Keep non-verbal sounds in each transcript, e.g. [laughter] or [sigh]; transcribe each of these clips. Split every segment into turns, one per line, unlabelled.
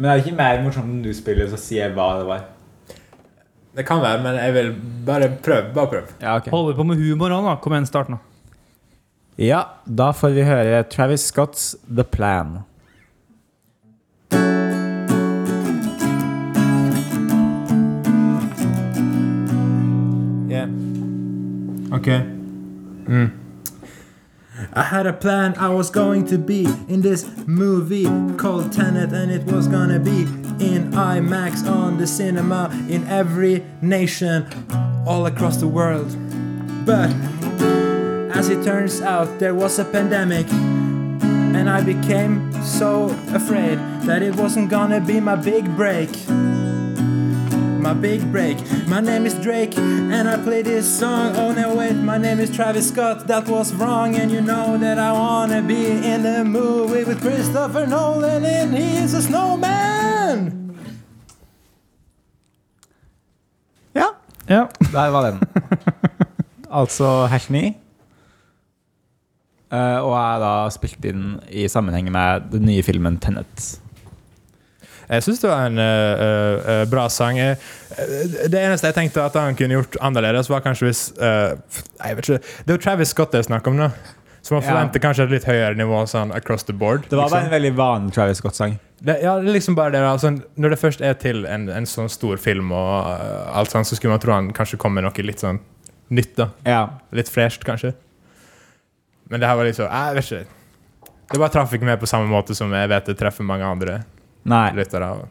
Men det er ikke mer morsomt enn du spiller, så sier jeg hva det var.
Det kan være, men jeg vil bare prøve. Bare prøv.
Ja, ok.
Holder på med humor òg, da. Kom igjen, start nå.
Ja, da får vi høre Travis Scotts The Plan.
Yeah. Okay. Mm. I had a plan I was going to be in this movie called Tenet, and it was gonna be in IMAX on the cinema in every nation all across the world. But as it turns out, there was a pandemic, and I became so afraid that it wasn't gonna be my big break my big break. My name is Drake, and I play this song. Oh no, wait, my name is Travis Scott. That was wrong, and you know that I wanna be in a movie with Christopher Nolan, and he is a snowman.
Ja,
Ja.
der var den. [laughs] altså hash 9. Eh, og er da spilt inn i sammenheng med den nye filmen Tenet.
Jeg syns det var en eh, eh, bra sang. Eh, eh, det eneste jeg tenkte at han kunne gjort annerledes, var kanskje hvis eh, Jeg vet ikke. Det er jo Travis Scott det er snakk om, da. Så man
Ja.
forventer kanskje et litt høyere nivå sånn across the board.
Det var
liksom.
bare en veldig vanlig Travis Scott-sang.
Det, ja, det er liksom bare det da, altså, Når det først er til en, en sånn stor film, og øh, alt sånn, så skulle man tro han kanskje kom med noe litt sånn nytt. da
Ja.
Litt fresht, kanskje. Men det her var litt sånn Jeg vet ikke. Det bare traff ikke meg på samme måte som jeg vet det treffer mange andre
Nei.
lyttere. av.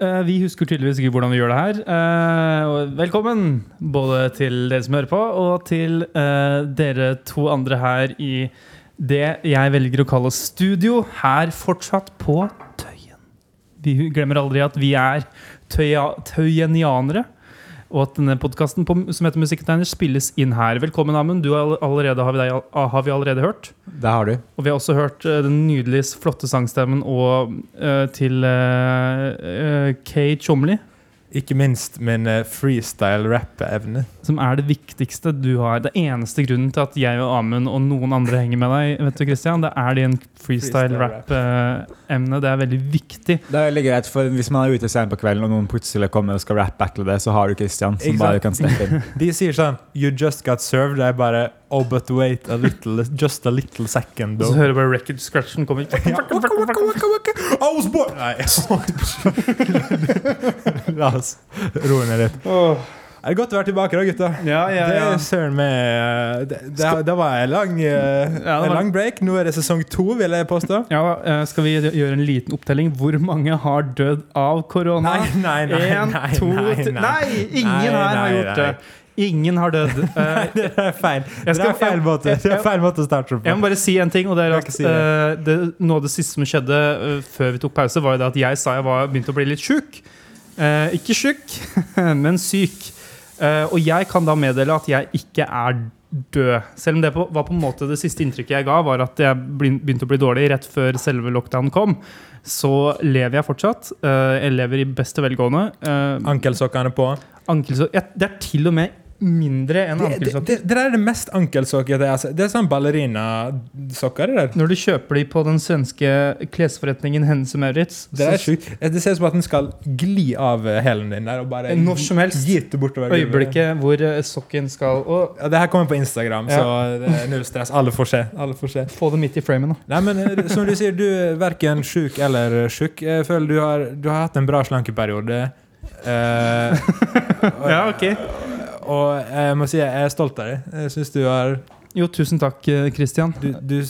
Eh, vi husker tydeligvis ikke hvordan vi gjør det her. Eh, og velkommen både til dere som hører på, og til eh, dere to andre her i det jeg velger å kalle studio, her fortsatt på Tøyen. Vi glemmer aldri at vi er tøya, tøyenianere, og at denne podkasten som heter Musikktegner, spilles inn her. Velkommen, Amund. Du har all- allerede, har, vi deg, al- har vi allerede hørt.
Det har du.
Og vi har også hørt eh, den nydelige, flotte sangstemmen og, eh, til eh, eh, Kay Chomley,
Ikke minst min eh, freestyle-rapp-evne.
som er det viktigste du har. Det eneste grunnen til at jeg og Amund og noen andre henger med deg, vet du, Christian, det er din
Freestyle rap.
freestyle-rap-emne. Det er veldig viktig.
Det er veldig greit, for Hvis man er ute sent på kvelden og noen plutselig kommer og skal rap-battle det, så har du Christian som
Ikke sant?
bare kan steppe [laughs] inn.
De sier sånn You just got served. Det er bare Oh, but wait a little Just a little second.
Og
though."
så hører du bare record-scratchen
[laughs]
komme.
I was born Nei, jeg La oss roe ned litt. Er det godt å være tilbake da, gutta?
Ja, ja,
Det
ja.
er søren meg eh, det, det, det var en lang, eh,
var-
en lang break. Nå er det sesong to, vil jeg påstå.
Ja, eh, skal vi gjøre en liten opptelling? Hvor mange har dødd av korona?
nei,
En, to, tre Nei, ingen her har
nei,
gjort
nei.
det. Ingen har dødd. [laughs] Eh,
Det er feil.
Jeg skal-
det er feil
jeg-
måte Det er
jeg-
feil måte å starte
Jeg må
på.
bare si en ting, og det er
Jeg
at
kan si det.
eh, det, Noe av det siste som skjedde eh, før vi tok pause, var jo det at jeg sa jeg var begynte å bli litt sjuk. Eh, ikke sjuk, [laughs] men syk. Eh, og jeg kan da meddele at jeg ikke er død. Selv om det på, var på en måte det siste inntrykket jeg ga, var at jeg blin- begynte å bli dårlig rett før selve lockdown kom. Så lever jeg fortsatt. Eh, jeg lever i beste velgående. Eh,
Ankelsokkene på.
ankelsokk jeg- Det er til og med mindre enn
Det, det,
ankelsokker.
det, det der er det mest ankelsokkete jeg har sett. Det er sånn ballerinasokker. Det der
Når du kjøper de på den svenske klesforretningen Hennes og Maurits
Det
så-
er sjukt. Det ser ut som at den skal gli av eh, hælen din der og bare
Når som helst.
gite bortover gulvet.
Øyeblikket hvor eh, sokken skal Å,
Ja, det her kommer på Instagram,
Ja.
så det er null stress. Alle får se. Alle får se.
få det midt i framen, da.
Nei, men eh, som du sier, du er verken sjuk eller sjuk. Jeg føler du har, du har hatt en bra slankeperiode. Eh, og,
ok.
og jeg må si jeg er stolt av deg. Jeg syns du har
Jo, tusen takk, eh, Christian.
du, du,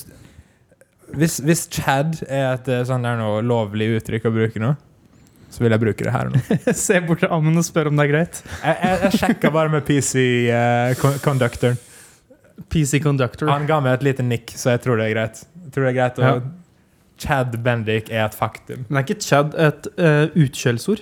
hvis, hvis Chad er et eh, sånn der noe lovlig uttrykk å bruke nå, så vil jeg bruke det her nå.
[laughs] Se bort til Amund og spør om det er greit.
Jeg, jeg, jeg sjekka bare med PC-conductoren.
PC Conductor.
Han ga meg et lite nikk, så jeg tror det er greit. Jeg tror det er greit å,
Ja.
Chad Bendik er et faktum.
Men er ikke Chad et uh, utkjølsord?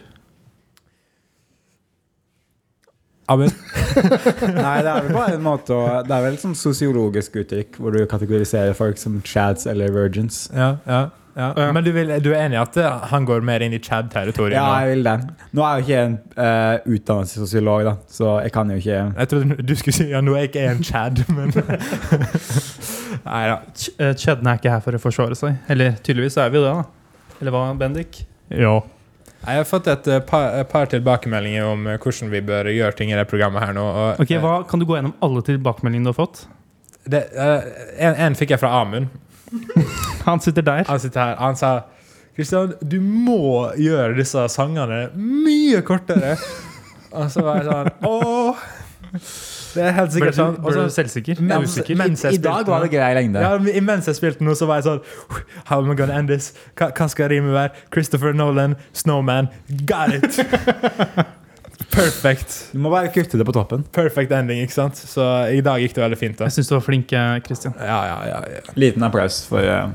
Amund?
Nei, det er vel bare en måte å Det er vel et sånn sosiologisk uttrykk hvor du kategoriserer folk som chads eller virgins.
Ja, ja, ja.
Ja.
Men du, vil, du er enig i at eh, han går mer inn i Chad-territoriet?
Ja,
nå?
jeg vil det. Nå er jo ikke jeg en eh, utdannet sosiolog, da, så jeg kan jo ikke
Jeg trodde du skulle si ja, nå er jeg ikke en Chad, men [laughs] Nei da.
Ch eh, Chadden er ikke her for å forsvare seg. Eller tydeligvis er vi jo det, da. Eller hva, Bendik?
Ja. Jeg har fått et eh, par, et par tilbakemeldinger om eh, hvordan vi bør gjøre ting i det programmet her nå. Og,
Ok, hva, Kan du gå gjennom alle tilbakemeldingene du har fått?
Det, eh, en, en fikk jeg fra Amund.
Han sitter der.
Han sitter her. Han sa Kristian, du må gjøre disse sangene mye kortere. og så var jeg sånn Åh! Det er helt
Ble
sikkert
du,
sånn. Og
ble du
så-
selvsikker?
Men-
Usikker?
mens jeg
I dag
spilte
var det grei lengde.
ja, men imens jeg spilte nå, så var jeg sånn How am I gonna end this? Hva, hva skal rimet være? Christopher Nolan, Snowman. Got
[laughs]
it! Perfect.
Du må bare kutte det på toppen.
Perfect ending, ikke sant? Så i dag gikk det veldig fint. da.
Jeg syns du var flink, eh, Christian.
Ja, ja, ja, ja.
Liten applaus for eh,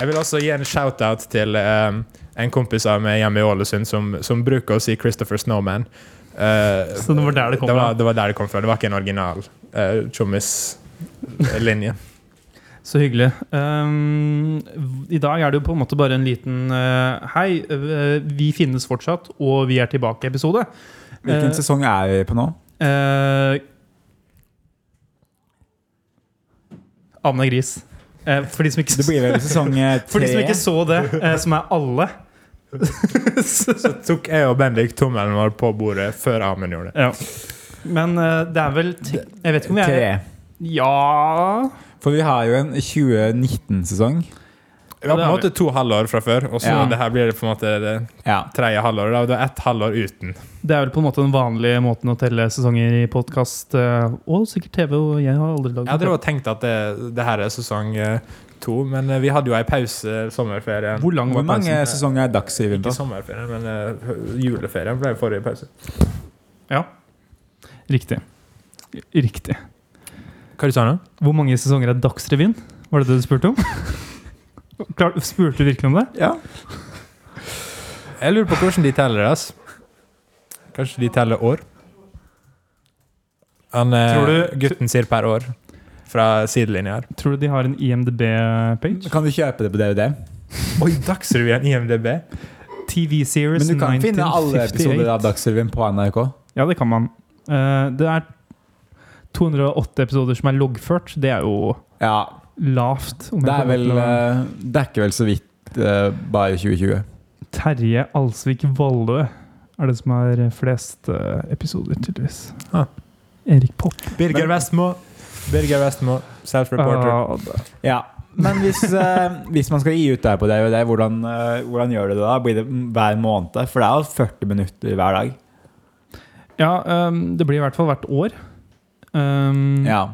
Jeg vil også gi en shout-out til eh, en kompis av meg hjemme i Ålesund som, som bruker å si Christopher Snowman. Eh,
Så det var der det kom
det
fra?
var, det var der det kom fra. Det var ikke en original uh, tjommislinje.
Så hyggelig. Um, v- I dag er det jo på en måte bare en liten eh, Hei, eh, vi finnes fortsatt, og vi er tilbake-episode.
Hvilken
Eh,
sesong er vi på nå?
Eh, Amund er gris. Eh, for, de som ikke,
Det blir vel sesong [laughs] eh,
for de som ikke
tre?
så det, eh, som er alle.
Så tok jeg og Bendik tommelen vår på bordet før Amund gjorde det.
Ja. Men eh, det er vel te- Jeg vet ikke om jeg
Tre.
Ja
For vi har jo en 2019-sesong.
Det var på
Ja, det
en
har
måte to halvår fra før, og så
Ja.
det her blir det på en måte det
Ja.
tredje halvåret. da. Det var ett halvår uten.
Det er vel på en måte den vanlige måten å telle sesonger i podkast. og sikkert TV. Og jeg har aldri
Jeg
lagd
hadde
[laughs]
jo tenkt at det, det her er sesong eh, to, men eh, vi hadde jo ei pause eh, sommerferien.
Hvor lang
Hvor
var
mange
pausen?
sesonger er Dagsrevyen på?
Ikke sommerferien, men eh, juleferien ble forrige pause.
Riktig. Riktig.
Hva sa du?
Hvor mange sesonger er Dagsrevyen? Var det det du
[laughs]
spurte om? Klart, spurte du virkelig om det?
Ja.
Jeg lurer på hvordan de teller det. ass. Kanskje de teller år? Han, eh,
Tror du-
gutten sier per år fra sidelinja her.
Tror du de har en IMDb-page?
Kan du kjøpe det på DVD?
Oi, Dagsrevyen IMDb!
TV Series
Men du kan finne alle
1958.
episoder av Dagsrevyen på NRK.
Ja, det kan man. Eh, det er 208 episoder som er loggført. Det er jo
Ja,
lavt. om jeg
det er
får lov
vel
til å-
eh, Dekker vel så vidt eh, bare 2020.
Terje Alsvik Vallø er det som har flest eh, episoder, tydeligvis.
Ah.
Erik Popp.
Birger
Men-
Vestmo. Birger Vestmo, self-reporter.
Ah, det-
Ja. Men hvis, eh, hvis man skal gi ut det her på DVD, hvordan, eh, hvordan gjør du det da? Blir det hver måned? For det er jo 40 minutter hver dag.
ja, ehm, det blir i hvert fall hvert år. Ehm,
Ja,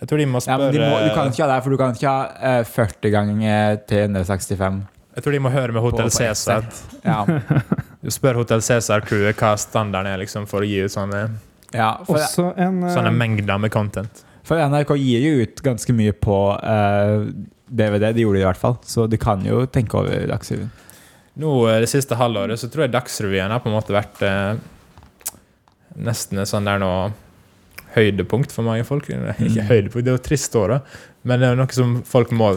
Jeg tror de må
ja
spørre
men de må, Du kan ikke ha det, for du kan ikke ha eh, 40 ganger 365.
Jeg tror de må høre med
på- på
Hotell
ett
Cæsar.
sett.
[laughs]
Ja.
Spør Hotell Cæsar-crewet hva standarden er liksom, for å gi ut sånne,
ja for,
Også en eh,
sånne mengder med content.
for NRK gir jo ut ganske mye på eh, DVD, de gjorde det i hvert fall. Så du kan jo tenke over Dagsrevyen.
Nå eh, Det siste halvåret så tror jeg Dagsrevyen har på en måte vært eh, nesten et sånn der nå høydepunkt for mange folk. Eh, Ikke høydepunkt, det er jo et trist år, da. Men det er jo noe som folk må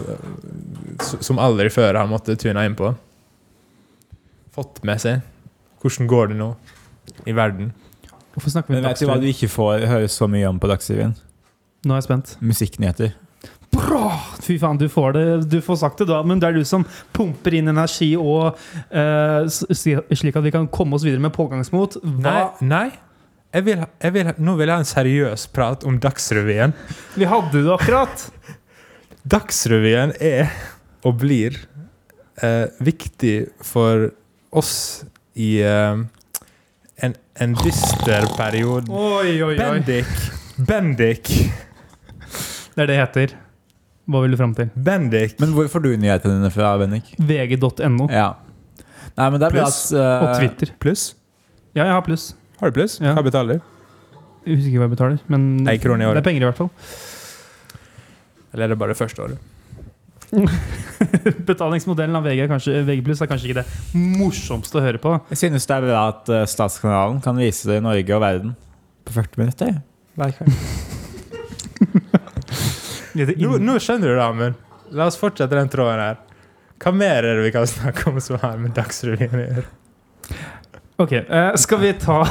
Som aldri før har måttet tune inn på. Fått med seg. Hvordan går det nå i verden?
Hvorfor snakker vi
Men
om
vet du hva du
Dagsrevyen?
ikke får høre så mye om på Dagsrevyen?
Nå er jeg spent.
Musikknyheter.
Bra! Fy faen, du får, det, du får sagt det da, men det er du som pumper inn energi og eh, s- si- slik at vi kan komme oss videre med pågangsmot.
Nei,
Hva?
nei. Jeg vil, ha- jeg vil, ha- nå vil jeg ha en seriøs prat om Dagsrevyen.
Vi hadde det akkurat!
Dagsrevyen er og blir eh, viktig for oss i eh, en, en dyster periode.
Oi, oi, oi.
Bendik! Bendik!
Det er det det heter. Hva vil du fram til?
Bendik!
Men hvor får du nyhetene dine fra, Bennik?
VG.no
Ja. Nei, men det er bra at
Pluss
Oh. og
eh,
Twitter.
Pluss?
Ja, jeg har pluss.
Har du pluss?
Ja.
Hva betaler du?
Jeg husker ikke hva jeg betaler, men
Ei krone i
det
året.
er penger i hvert fall.
Eller er det bare første året?
Betalingsmodellen av VG er kanskje, VG er kanskje ikke det morsomste å høre på.
Jeg synes det er bra at eh, Statskanalen kan vise det i Norge og verden på 40 minutter. Hver
[laughs]
kveld.
Nå,
Mm.
nå skjønner du det, Amund. La oss fortsette den tråden her. Hva mer er det vi kan snakke om som har med Dagsrevyen å gjøre?
Ok, eh, skal vi ta [laughs]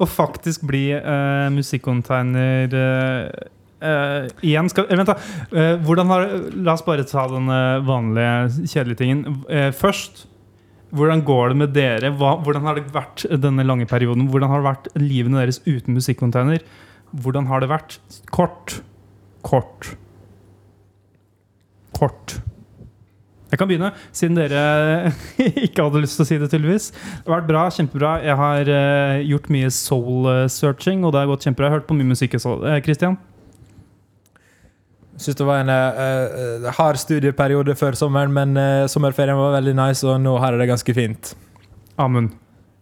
og faktisk bli eh, musikkcontainer eh, eh, igjen skal eh, Vent, da. Eh, hvordan har, la oss bare ta den eh, vanlige, kjedelige tingen Eh, først. Hvordan går det med dere? Hva, hvordan har det vært denne lange perioden? Hvordan har det vært livene deres uten musikkonteiner? Hvordan har det vært? Kort. Kort. Kort. Jeg kan begynne, siden dere [laughs] ikke hadde lyst til å si det, tydeligvis. Det har vært bra, kjempebra. Jeg har eh, gjort mye soul-searching, og det har gått kjempebra. Jeg har hørt på mye musikk også. Eh, Christian?
Syns det var en eh, eh, hard studieperiode før sommeren, men eh, sommerferien var veldig nice, og nå har jeg det ganske fint.
Amund?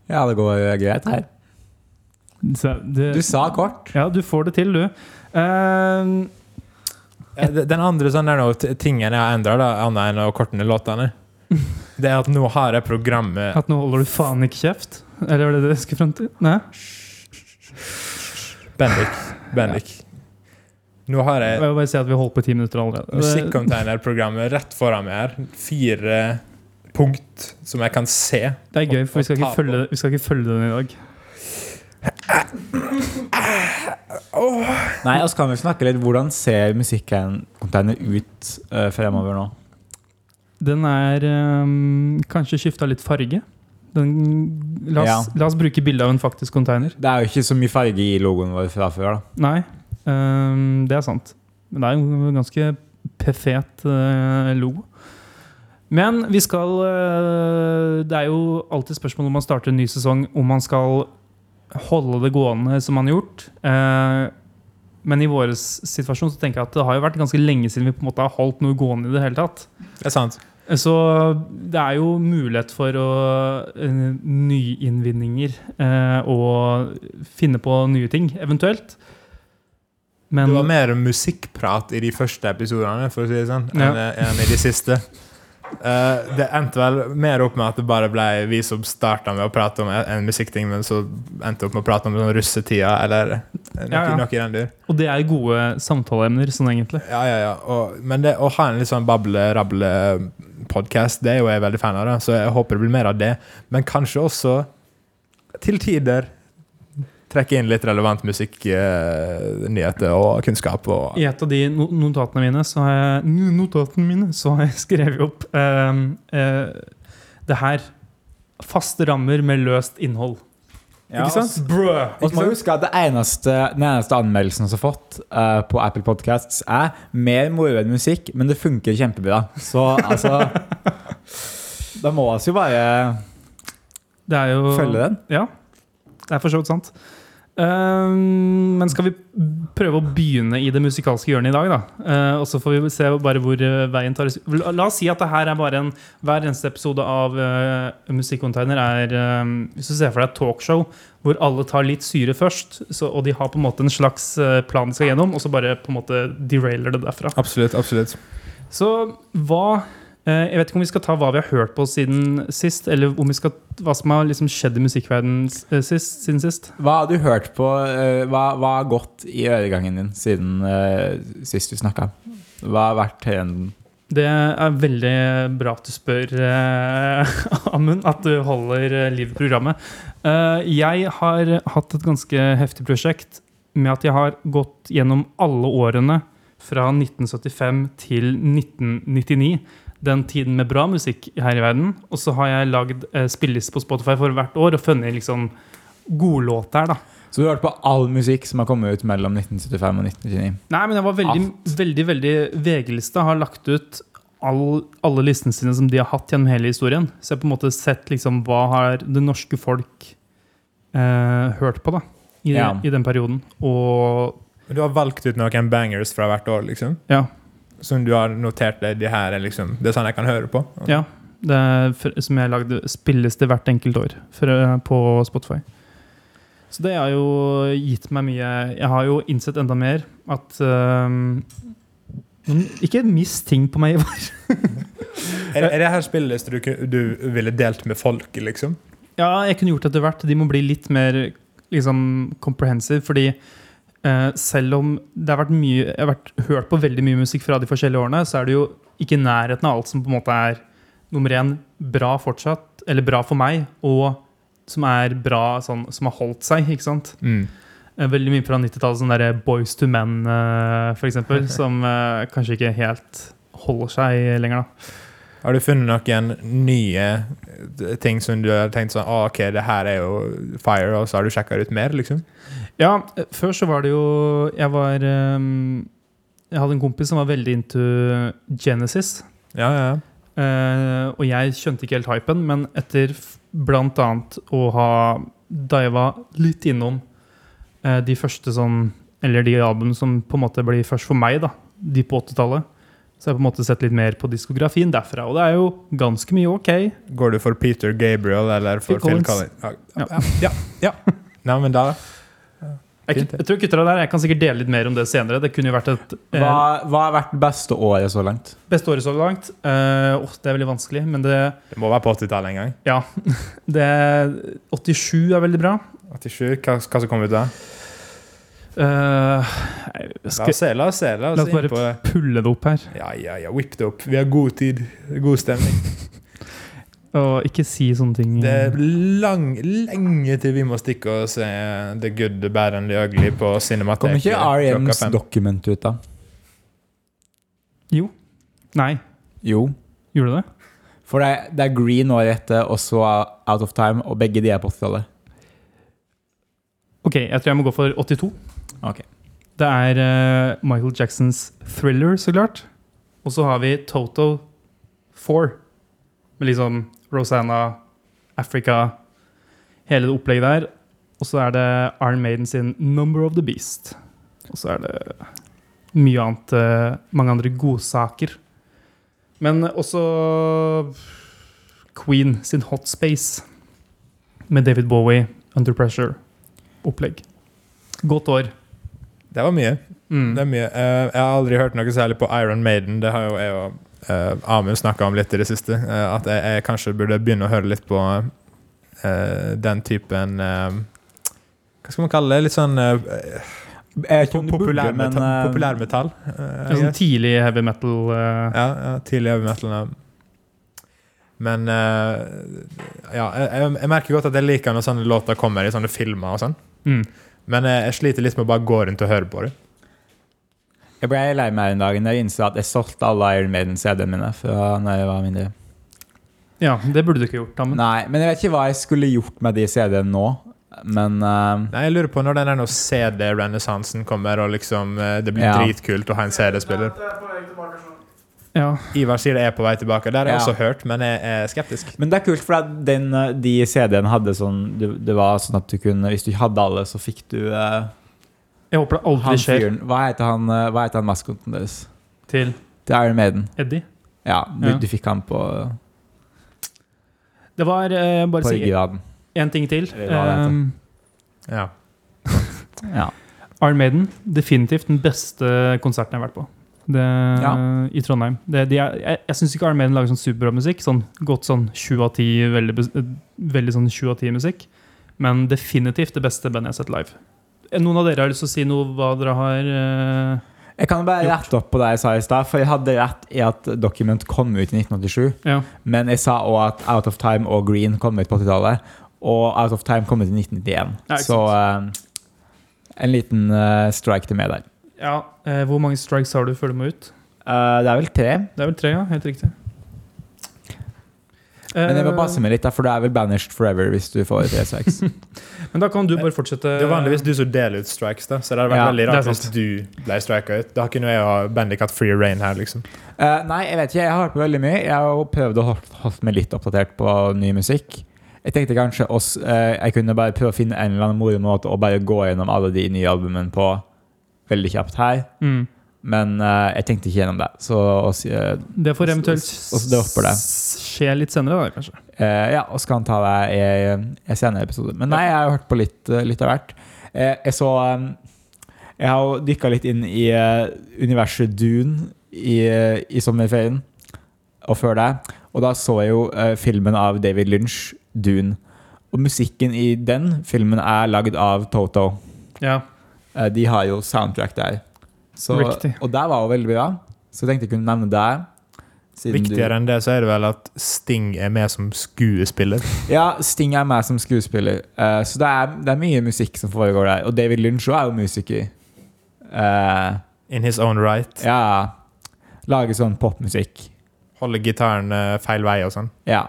Ja, det går eh, greit her.
Så det-
Du sa kort.
Ja, du får det til, du. Eh,
Eh, de- Den andre sånn der, nå, t- tingen jeg har endra, annet enn å korte ned låtene, det er at nå har jeg programmet
at nå holder du faen ikke kjeft? Eller var det det du skulle frem til? Nei?
Bendik. Bendik. Nå har
Jeg
jeg
vil bare si at vi har holdt på i ti minutter allerede.
Musikkonteinerprogrammet rett foran meg her. Fire punkt som jeg kan se.
Det er gøy, for vi skal ikke følge, vi skal ikke følge den i dag.
Nei, altså kan vi snakke litt Hvordan ser musikkonteiner ut eh, fremover nå?
Den er ehm, kanskje skifta litt farge. Den, la, oss, la oss bruke bilde av en faktisk container.
Det er jo ikke så mye farge i logoen vår fra før, da.
Nei, ehm, det er sant. Men det er jo en ganske perfekt eh, logo. Men vi skal eh, Det er jo alltid spørsmål når man starter en ny sesong, om man skal holde det gående som man har gjort. Eh, men i vår situasjon så tenker jeg at det har jo vært ganske lenge siden vi på en måte har holdt noe gående i det hele tatt.
Det er sant.
Så det er jo mulighet for å, eh, nyinnvinninger eh, og finne på nye ting, eventuelt. Men
Det var mer musikkprat i de første episodene for å si det sånn, enn enn i de siste. Eh, det endte vel mer opp med at det bare ble vi som starta med å prate om en, en musikkting, men så endte opp med å prate om sånn russetida eller noe,
Ja, ja.
noe i den dur.
og det er gode samtaleemner, sånn egentlig.
Ja, ja, ja. Og, men det å ha en litt sånn bable-rable-podkast, det er jo jeg veldig fan av, da, så jeg håper det blir mer av det. Men kanskje også til tider trekke inn litt relevant musikk, eh, nyheter og kunnskap. Og,
I et av de no notatene mine så har jeg, no- notatene mine, så har jeg [laughs] skrevet opp eh, eh, det her. Faste rammer med løst innhold.
Ja, altså,
ikke sant?
Brø!
Og så må vi huske at det eneste, den eneste anmeldelsen vi har fått eh, på Apple Podcasts, er mer moro enn musikk, men det funker kjempebra. Så altså [laughs] Da må vi jo bare
Det er jo
følge den.
Ja, det er for så vidt sant. Ehm, men skal vi prøve å begynne i det musikalske hjørnet i dag, da? Eh, og så får vi se bare hvor eh, veien tar oss. La la oss si at det her er bare en Hver eneste episode av uh, Musikkonteiner er eh, Hvis du ser for deg et talkshow hvor alle tar litt syre først, så, og de har på en måte en slags eh, plan de skal gjennom, og så bare på en måte derailer det derfra.
Absolutt. absolutt.
Så hva eh, Jeg vet ikke om vi skal ta hva vi har hørt på siden sist, eller om vi skal, hva som har liksom skjedd i musikkverdenen eh, sist, siden sist.
Hva har du hørt på? eh, hva, hva har gått i øregangen din siden eh, sist vi snakka? Hva har vært trenden?
Det er veldig bra at du spør, eh, [laughs] Amund, at du holder eh, liv i programmet. Eh, jeg har hatt et ganske heftig prosjekt med at jeg har gått gjennom alle årene fra 1975 til 1999. Den tiden med bra musikk her i verden. Og så har jeg lagd uh, spilleliste på Spotify for hvert år og funnet liksom godlåter, da.
Så du har hørt på all musikk som har kommet ut mellom 1975 og 1999?
Nei, men jeg var veldig, veldig, veldig VG-lista har lagt ut all, alle listene sine som de har hatt gjennom hele historien. Så jeg har på en måte sett liksom hva har det norske folk eh, hørt på da, i,
Ja.
i den perioden. Og
Du har valgt ut noen bangers fra hvert år, liksom?
ja,
Som du har notert deg. De her er liksom, det er sånn jeg kan høre på.
ja det er fr- som jeg lagde spilles det hvert enkelt år fra- på Spotify. Så det har jo gitt meg mye Jeg har jo innsett enda mer at eh, Ikke mist ting på meg, [laughs] Ivar.
Er, er det her spilleliste du, ku- du ville delt med folk, liksom?
Ja, jeg kunne gjort det etter hvert. De må bli litt mer liksom, comprehensive, fordi eh, selv om det har vært mye, jeg har vært, hørt på veldig mye musikk fra de forskjellige årene, så er det jo ikke i nærheten av alt som på en måte er nummer én bra fortsatt,
Mm.
eller bra for meg, og som er bra sånn, som har holdt seg, ikke sant? eh, veldig mye fra 90-tallet, sånn derre Boys to Men, eh, for eksempel, som eh, kanskje ikke helt holder seg lenger, da.
Har du funnet noen nye eh, ting som du har tenkt sånn ah, OK, det her er jo fire, og så har du sjekka ut mer, liksom?
Ja, eh, før så var det jo Jeg var eh, Jeg hadde en kompis som var veldig into Genesis.
Ja, ja. ja.
Eh, og jeg skjønte ikke helt hypen, men etter f- blant annet å ha diva litt innom eh, de første sånn Eller de album som på en måte blir først for meg, da. De på 80-tallet. Så jeg har jeg på en måte sett litt mer på diskografien derfra. Og det er jo ganske mye ok.
Går du for Peter Gabriel eller for
Phil
Phil
Collins.
Collins? Ja, ja. ja, ja. Nei, men da
Jeg,
Fint, det.
jeg tror jeg kutter av der. Jeg kan sikkert dele litt mer om det senere. Det kunne jo vært et
Hva,
eh,
hva har vært det beste året så langt?
beste året så langt. Eh, åh, det er veldig vanskelig, men det
Det må være på 80-tallet en gang.
Ja. [laughs] Det 87 er veldig bra.
87, hva, hva som kom ut da?
Eh,
La
skal
oss se, la oss se. La
La
oss
oss
inn
bare-
på det.
jeg pulle det opp her?
Ja, ja, ja. Whip det opp. Vi har god tid. God stemning.
Og ikke si sånne ting.
Det er lang, lenge til vi må stikke og se The Good, The Bad and The Ugly på
Kom
Cinemateket
ikke E REMs
fem.
dokument ut, da?
Nei,
Jo.
gjorde det det?
For det er, det er Green året etter, og så Out of Time, og begge de er på 80-tallet.
Ok, jeg tror jeg må gå for 82.
Ok.
Det er eh, Michael Jacksons Thriller, så klart. Og så har vi Toto 4. Med liksom Rosanna, Africa, hele det opplegget der. Og så er det Iron Maiden sin Number of the Beast. Og så er det mye annet eh, Mange andre godsaker. Men også Queen sin Hot Space med David Bowie, Under Pressure. Opplegg. Godt år.
Det var mye.
Mm.
Det er mye. Eh, jeg har aldri hørt noe særlig på Iron Maiden. Det har jo jeg og eh, Amund snakka om litt i det siste. eh, at jeg, jeg kanskje burde begynne å høre litt på eh, den typen eh, Hva skal man kalle det? Litt sånn eh,
Jeg vet ikke om du burde, men,
populærmetall.
eh,
populærmetall eh,
Det er
jeg-
sånn tidlig heavy metal. eh,
Ja, ja tidlig heavy metal. ja. Men eh, ja, jeg, jeg- jeg merker godt at jeg liker når sånne låter kommer i sånne filmer. og sånn
Mm.
Men jeg, jeg sliter litt med å bare gå rundt og høre på det.
Jeg ble lei meg en dag da jeg innså at jeg solgte alle Iron Maiden-CD-ene mine. Fra når jeg var mindre.
ja, det burde du ikke gjort, Amund.
Nei, men jeg vet ikke hva jeg skulle gjort med de CD-ene nå. Men eh,
Nei, Jeg lurer på når den der nå CD-renessansen kommer, og liksom eh, det blir
Ja.
dritkult å ha en CD-spiller.
Ja.
Ivar sier det er på vei tilbake. Der har jeg
Ja.
også hørt, men jeg er skeptisk.
Men det er kult, for at den, eh, de CD-ene hadde sånn det, det var sånn at du kunne Hvis du ikke hadde alle, så fikk du eh,
Jeg håper det aldri
han
skjer
fyren Hva heter han, eh, hva heter han maskoten deres?
til
Det er Iron Maiden.
Eddie.
Ja, du,
Ja.
du fikk han på,
Det var eh, bare
på
si
ryggraden.
én ting til.
Eller hva det heter.
Um,
Ja.
Ja.
Iron Maiden, definitivt den beste konserten jeg har vært på. Det, I Trondheim. Det, de er, jeg jeg syns ikke Iron Maiden lager sånn superbra musikk. Sånn, godt sånn 7 av 10, veldig, bes- eh, veldig sånn 7 av 10 musikk. Men definitivt det beste bandet jeg har sett live. Eh, Noen av dere har lyst til å si noe hva dere har eh,
Jeg kan bare rette opp på det jeg sa i stad, for jeg hadde rett i at Document kom ut i 1987.
eh, Ja.
Men jeg sa òg at Out of Time og Green kom ut på 80-tallet. Og Out of Time kom ut i 1991.
Ja, ikke
så eh, en liten eh, strike til meg der.
ja eh, hvor mange strikes har du før du må ut?
Eh, det er vel tre.
Det er vel tre, ja. Helt riktig.
Men jeg må
Eh,
passe meg litt, da, for du er vel banished forever hvis du får tre strikes.
Eh, men da kan du bare fortsette.
Det er vanligvis du som deler ut strikes, da, så det hadde vært
Ja,
veldig
det er
rart hvis du ble strika ut. Da kunne jeg og Bendik hatt free rain her, liksom.
[laughs] Eh, nei, jeg vet ikke. Jeg har hørt på veldig mye. Jeg har jo prøvd å holde, holdt meg litt oppdatert på ny musikk. Jeg tenkte kanskje oss, eh, jeg kunne bare prøve å finne en eller annen moro måte å bare gå gjennom alle de nye albumene på veldig kjapt her.
Mm.
Men eh, jeg tenkte ikke gjennom det. Så oss, eh,
Det får eventuelt
Og- og- og det hopper det.
s- skje litt senere, da, kanskje.
Eh, ja, og så kan han ta det i i en senere episode. Men nei, jeg har jo hørt på litt, eh, litt av hvert. Eh, jeg så eh, Jeg har jo dykka litt inn i eh, universet Dune i, eh, i sommerferien og før det. Og da så jeg jo eh, filmen av David Lynch, Dune. Og musikken i den filmen er lagd av Toto.
Ja.
Eh, De har jo soundtrack der. Så,
Riktig.
og der var jo veldig bra, så jeg tenkte jeg kunne nevne det. siden du-
Viktigere enn det så er det vel at Sting er med som skuespiller.
Ja, Sting er meg som skuespiller. Eh, så det er, det er mye musikk som foregår der. Og David Lynch også er jo musiker. Eh,
In his own right.
ja Lager sånn popmusikk.
Holder gitaren eh, feil vei og sånn.
Ja.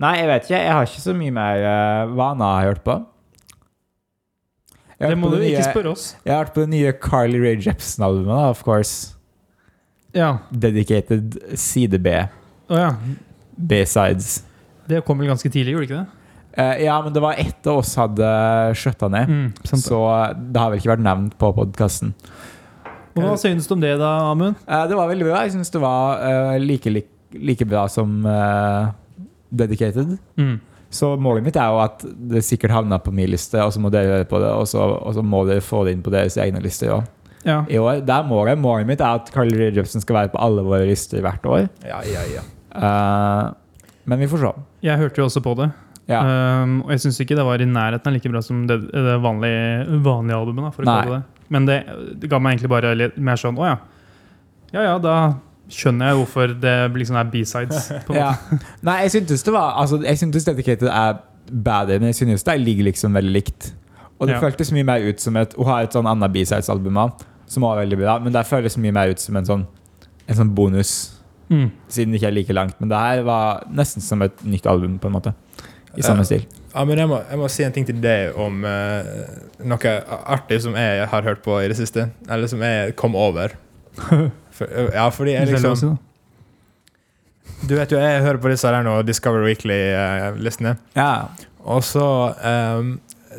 Nei, jeg vet ikke. Jeg har ikke så mye mer uh, hva annet har jeg hørt på. Jeg har
Det
hørt
må
på
du
det
ikke
nye-
spørre oss.
Jeg har hørt på det nye Carly Rae Jepsen-albumet, da, of course.
Ja.
Dedicated side B.
Å ja.
B-sides.
Det kom vel ganske tidlig, gjorde det ikke det?
Eh, ja, men det var etter oss hadde skjøtta ned.
Mm, sant.
Så eh, det har vel ikke vært nevnt på podkasten.
Og hva synes du om det da, Amund?
Eh, Det var veldig bra. Jeg syns det var eh, like, like, like bra som eh, Dedicated.
Mm.
Så målet mitt er jo at det sikkert havna på min liste, og så må dere høre på det, og så, og så må dere få det inn på deres egne lister òg.
Ja.
I år, der målet, målet mitt er at Carl Reed Jepsen skal være på alle våre lister hvert år.
Ja, ja, ja.
Eh, men vi får se.
Jeg hørte jo også på det.
Ja.
Um, og jeg syns ikke det var i nærheten av like bra som det, det vanlige, vanlige albumet. Da, for å
Nei.
kalle det. Men det, det ga meg egentlig bare litt mer sånn Å ja. Ja ja, da skjønner jeg hvorfor det liksom er B-sides.
[laughs]
på en
Ja.
måte.
Nei, jeg syntes det var Altså, jeg syntes Dedicated er bedre, men jeg synes det ligger liksom veldig likt. Og det
Ja.
føltes mye mer ut som et Hun har et sånn annet B-sides-album også, som var veldig bra, men det føles mye mer ut som en sånn En sånn bonus,
Mm.
siden det ikke er like langt. Men det her var nesten som et nytt album, på en måte. I samme
Ja.
stil.
Ja, men jeg må, jeg må si en ting til deg om eh, noe artig som jeg har hørt på i det siste. Eller som jeg kom [laughs] over. For, ja, fordi jeg
Hvis det er
liksom
lov å si, da.
Du vet jo, jeg hører på disse her nå, eh, Discover Weekly-listene.
Ja.
Og så um,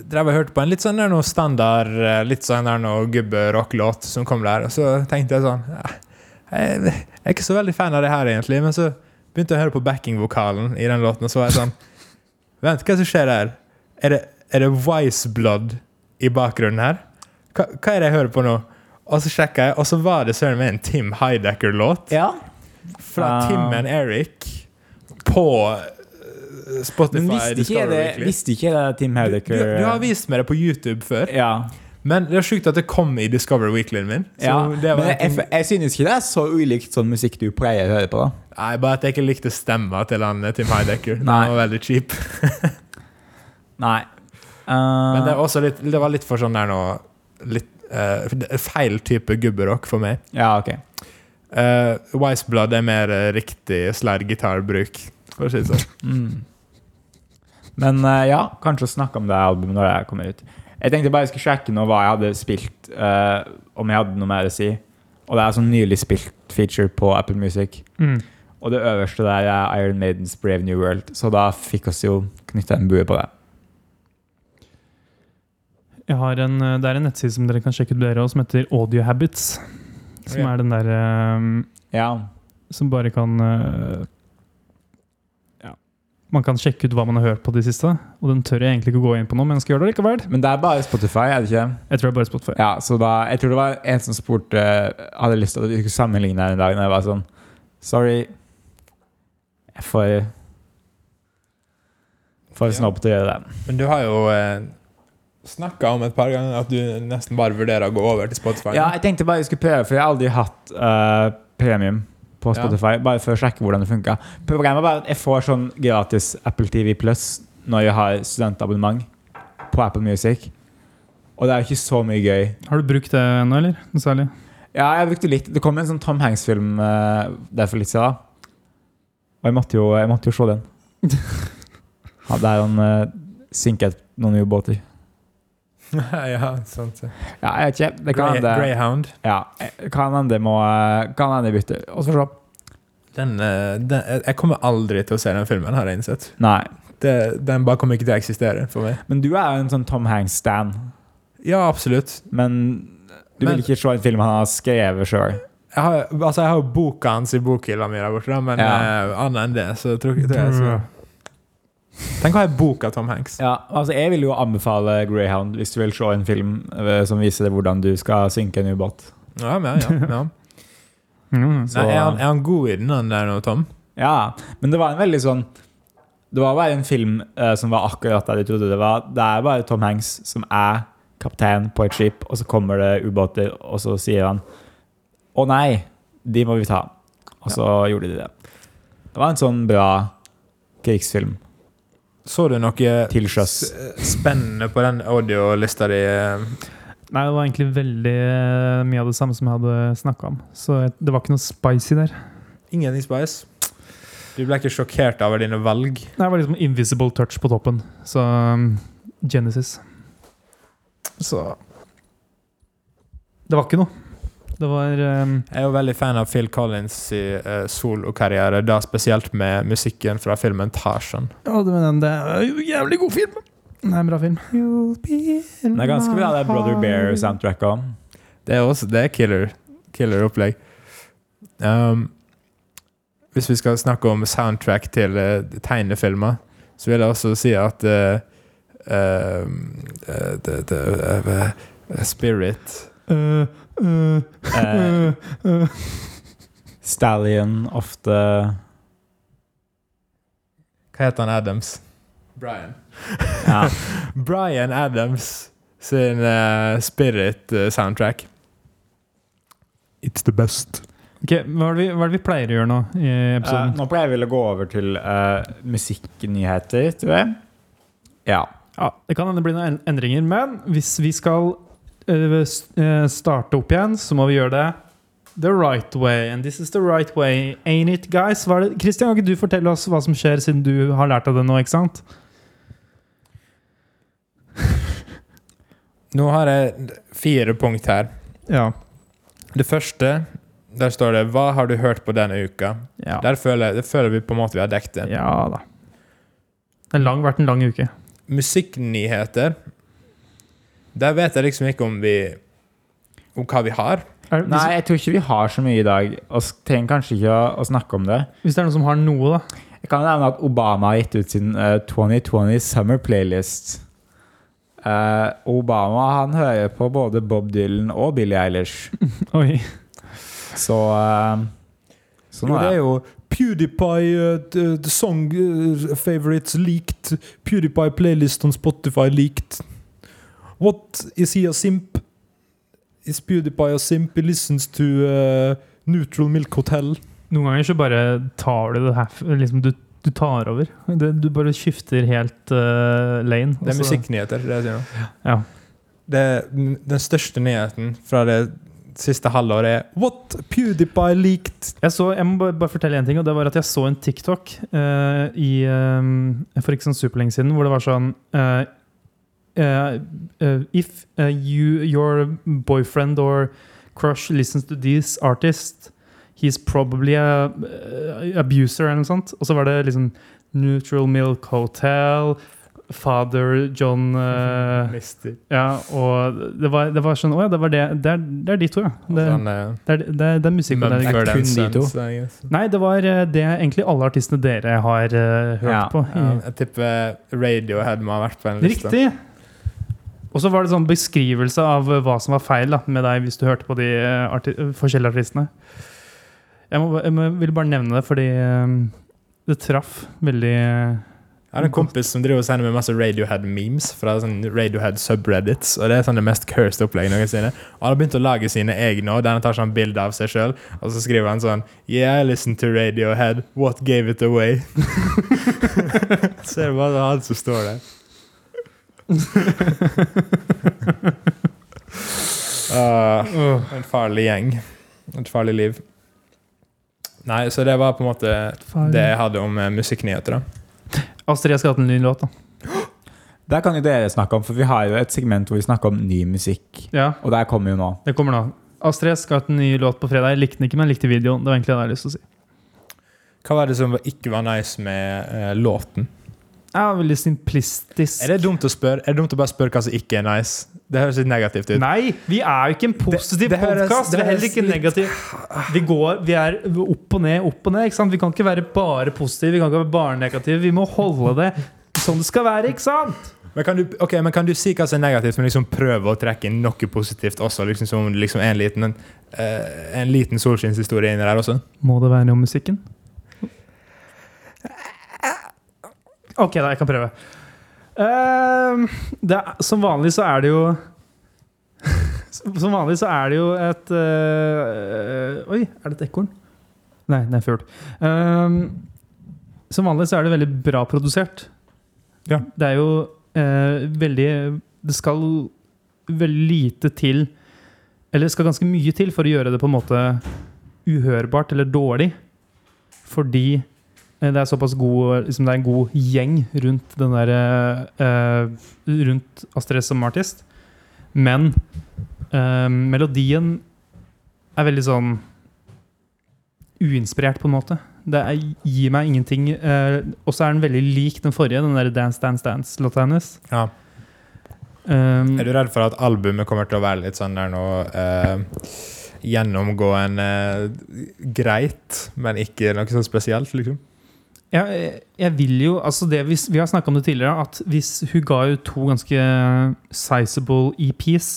drev jeg og hørte på en litt sånn der noe standard, eh, litt sånn der noe gubbe-rock-låt som kom der, og så tenkte jeg sånn "Ja, jeg, jeg er ikke så veldig fan av det her, egentlig, men så begynte jeg å høre på backing-vokalen i den låten, og så var jeg sånn Vent, hva er det som skjer her? Er det, er det Wise Blood i bakgrunnen her? Hva, hva er det jeg hører på nå? Og så sjekka jeg, og så var det søren meg en Tim Heidecker-låt fra
Ah.
Tim and Eric på eh, Spotify
Men visste ikke, jeg
Discover
det,
Weekly.
visste ikke jeg det Tim
Du,
Heidecker
du, du har vist meg det på YouTube før,
Ja.
men det er sjukt at det kom i Discover Weekly-en min. Så
ja.
det
Men
var en
jeg,
ting,
jeg synes ikke det er så ulikt sånn musikk du pleier å høre på, da.
nei, bare at jeg ikke likte stemma til han eh, Tim Heidecker. Den
Nei.
var veldig cheap.
Nei. Eh,
Men det, er også litt, det var litt for sånn der nå litt, eh, Feil type gubberock for meg.
Ja, ok.
Uh, Wiseblood er mer eh, riktig slide-gitarbruk, for å si det sånn.
Mm. Men eh, ja, kanskje å snakke om det albumet når det kommer ut. Jeg tenkte bare jeg skulle sjekke nå hva jeg hadde spilt, eh, om jeg hadde noe mer å si. Og det er sånn nylig spilt feature på Apple Music.
Mm.
Og det øverste der er Iron Maidens Brave New World, så da fikk oss jo knytta en bue på det.
Jeg har en, eh, det er en nettside som dere kan sjekke ut, dere også, som heter Audio Habits. Som
Ja.
er den derre
Ja.
Som bare kan eh, Ja. Man kan sjekke ut hva man har hørt på de siste. Og den tør jeg egentlig ikke å gå inn på nå, men jeg skal gjøre det likevel.
Men det er bare Spotify, er det ikke?
Jeg tror jeg bare Spotify.
Ja, så da, Jeg tror det var en som spurte Hadde lyst til at vi skulle sammenligne her en dag, og jeg var sånn Sorry. Jeg får For
Ja.
snobb til å gjøre det.
Men du har jo eh, snakka om et par ganger at du nesten bare vurderer å gå over til Spotify.
Ja, jeg tenkte bare jeg skulle prøve, for jeg har aldri hatt eh, premium på
Ja.
Spotify. Bare for å sjekke hvordan det funka. Problemet er bare at jeg får sånn gratis Apple TV Plus når jeg har studentabonnement på Apple Music. Og det er jo ikke så mye gøy.
Har du brukt det ennå, eller? Noe særlig?
Ja, jeg brukte litt Det kom en sånn Tom Hanks-film eh, der for litt siden. Og jeg måtte jo, jeg måtte jo se [laughs] den. ja, der han eh, sinket noen ubåter.
[laughs] ja, sant.
Ja, jeg vet ikke. Det kan
Grey,
hende
Greyhound.
ja, kan hende må eh, Kan hende bytte. Og så se.
Den, eh, den, jeg- jeg kommer aldri til å se den filmen, har jeg innsett.
Nei.
Det, den bare kommer ikke til å eksistere for meg.
Men du er jo en sånn Tom Hanks-stan.
Ja, absolutt.
Men du
Men-
vil ikke se en film han har skrevet sjøl.
Jeg har, altså, jeg har jo boka hans i bokhylla mi der borte, da, men
Ja.
eh, annet enn det, så tror jeg ikke det er
Mm.
så Tenk å ha ei bok av Tom Hanks.
Ja, altså jeg vil jo anbefale Greyhound hvis du vil se en film eh, som viser deg hvordan du skal synke en ubåt.
Ja, men, ja, [laughs] ja.
Mm.
Så-
Nei, er, han, er han god i den han der nå, Tom?
Ja, men det var en veldig sånn Det var bare en film eh, som var akkurat der de trodde det var. Det er bare Tom Hanks som er kaptein på et skip, og så kommer det ubåter, og så sier han Å nei, de må vi ta. Og så gjorde de det. Det var en sånn bra krigsfilm.
Så du noe eh,
Til sjøs.
s- spennende på den audiolista di? eh,
Nei, det var egentlig veldig eh, mye av det samme som jeg hadde snakka om. Så jeg- det var ikke noe spicy der.
Ingenting spice. Du ble ikke sjokkert over dine valg?
Nei, Det var liksom invisible touch på toppen. Så um, Genesis. Så Det var ikke noe. Det var um,
Jeg er jo veldig fan av Phil Collins' i eh, solokarriere, da spesielt med musikken fra filmen Tarzan.
Ja, det, men det er jo en jævlig god film. Det er en bra film.
Men Det er ganske bra, det Brother Bear-soundtracket òg.
Det er også det er killer, killer opplegg. Um, hvis vi skal snakke om soundtrack til eh, tegnefilmer, så vil jeg også si at eh, um, eh, det- det- eh, eh, Spirit
Uh, uh,
[laughs] Eh,
uh, uh.
Stallion ofte
Hva heter han Adams? Brian.
ja.
[laughs] Brian Adams sin eh, Spirit-soundtrack. It's the best.
Ok, hva er, det vi, hva er det vi pleier å gjøre nå i
Eh,
episoden?
Nå pleier jeg vel å gå over til eh, musikknyheter, tror jeg. Ja.
ja, det kan hende det blir noen en- endringer, men hvis vi skal eh, s- eh, starte opp igjen, så må vi gjøre det the right way. And this is the right way, ain't it, guys? Hva er det? Christian, kan ikke du fortelle oss hva som skjer, siden du har lært av det nå, ikke sant?
Nå har jeg fire punkt her.
Ja.
Det første, der står det 'Hva har du hørt på denne uka?'
Ja,
Der føler, det føler vi på en måte vi har dekket det.
ja da. Det har lang, vært en lang uke.
Musikknyheter Der vet jeg liksom ikke om vi Om hva vi har.
Er,
Nei,
hvis,
jeg tror ikke vi har så mye i dag. Vi trenger kanskje ikke å, å snakke om det.
hvis det er noen som har noe, da.
Jeg kan nevne at Obama har gitt ut sin eh, 2020 Summer Playlist. Eh, Obama han hører på både Bob Dylan og Billie Eilish.
[laughs] Oi.
Så eh, sånn er
Jo, det er
det.
jo PewDiePie eh, the song eh, favorites leaked. PewDiePie playlist on Spotify leaked. What is he a simp? Is PewDiePie a simp? He listens to eh, Neutral Milk Hotel.
Noen ganger så bare tar du det herf- liksom du, du tar over. Det, du bare skifter helt eh, lane.
Det
og
er
så-
musikknyheter. det jeg sier nå.
Ja.
Altså- Det, den største nyheten fra det siste halvåret er What PewDiePie leaked?
Jeg, så, jeg må bare, bare fortelle en ting, og det var at jeg så en TikTok eh, i, eh, for ikke sånn superlenge siden, hvor det var sånn eh, eh, eh, If eh, you, your boyfriend or crush listens to this artist, he's probably a eh, abuser, eller noe sånt. Og så var det liksom Neutral Milk Hotel, Father John eh,
Mister.
Ja, og det var, det var sånn Å ja, det var det. Det er, det er de to, ja. Det,
Han, eh,
det, er, det, er, det er musikk. og Det er,
Mumford
kun
and
de to.
Sons, I guess.
nei, det var eh, det egentlig alle artistene dere har eh, hørt
Ja,
på.
Ja, jeg tipper Radiohead må ha vært på en liste.
Riktig! Og så var det sånn beskrivelse av eh, hva som var feil da, med deg hvis du hørte på de eh, arti eh, forskjellige artistene. Jeg, må, jeg må, ville bare nevne det fordi eh, det traff veldig eh,
Jeg har en kompis som driver og sender meg masse Radiohead-memes fra sånn Radiohead-subreddits. Og det er sånn det mest cursed opplegget noensinne. Og han har begynt å lage sine egne, og der han tar sånn bilde av seg sjøl. Og så skriver han sånn Yeah, I listened to Radiohead. What gave it away? [laughs] så er det bare han som står der. [laughs] Ah, en farlig gjeng. Et farlig liv. Nei, så det var på en måte det jeg hadde om eh, musikknyheter. da
Astrid, jeg skal ha hatt en ny låt, da.
Der kan jo dere snakke om, for vi har jo et segment hvor vi snakker om ny musikk.
Ja,
Og der kommer jo nå.
det kommer nå. Astrid jeg skal ha hatt en ny låt på fredag. Jeg likte den ikke, men jeg likte videoen. Det var egentlig det jeg hadde lyst til å si.
Hva var det som ikke var nice med eh, låten?
Ja, veldig simplistisk.
Er det dumt å spørre? Er det dumt å bare spørre hva som ikke er nice? Det høres litt negativt ut.
Nei, vi er jo ikke en positiv
Det- det høres-
podkast.
det
Vi er heller
høres
ikke
litt-
negativ. Vi går, vi er opp og ned, opp og ned. Ikke sant? Vi kan ikke være bare positive, vi kan ikke være bare negative. Vi må holde det sånn det skal være, ikke sant?
Men kan, du, ok, men kan du si hva som er negativt, men liksom prøve å trekke inn noe positivt også? Liksom som om det liksom er en liten, en, eh, en liten solskinnshistorie inni der også?
Må det være noe om musikken? Ok, da. Jeg kan prøve. Ehm, det er, som vanlig så er det jo [laughs] Som vanlig så er det jo et eh, Oi, er det et ekorn? Nei, det er en fugl. Ehm, Som vanlig så er det veldig bra produsert.
Ja.
Det er jo eh, veldig Det skal veldig lite til Eller det skal ganske mye til for å gjøre det på en måte uhørbart eller dårlig. Fordi eh, det er såpass god liksom Det er en god gjeng rundt den der eh, eh, Rundt Astrid som artist. Men eh, melodien er veldig sånn uinspirert, på en måte. Det er, gir meg ingenting. Eh, og så er den veldig lik den forrige, den der Dance Dance Dance-låta hennes.
Ja.
Um,
Er du redd for at albumet kommer til å være litt sånn der nå eh, Gjennomgående eh, greit, men ikke noe sånn spesielt, liksom?
Ja, jeg, jeg vil jo altså det, hvis, Vi har snakka om det tidligere, at hvis hun ga jo to ganske sizable EPs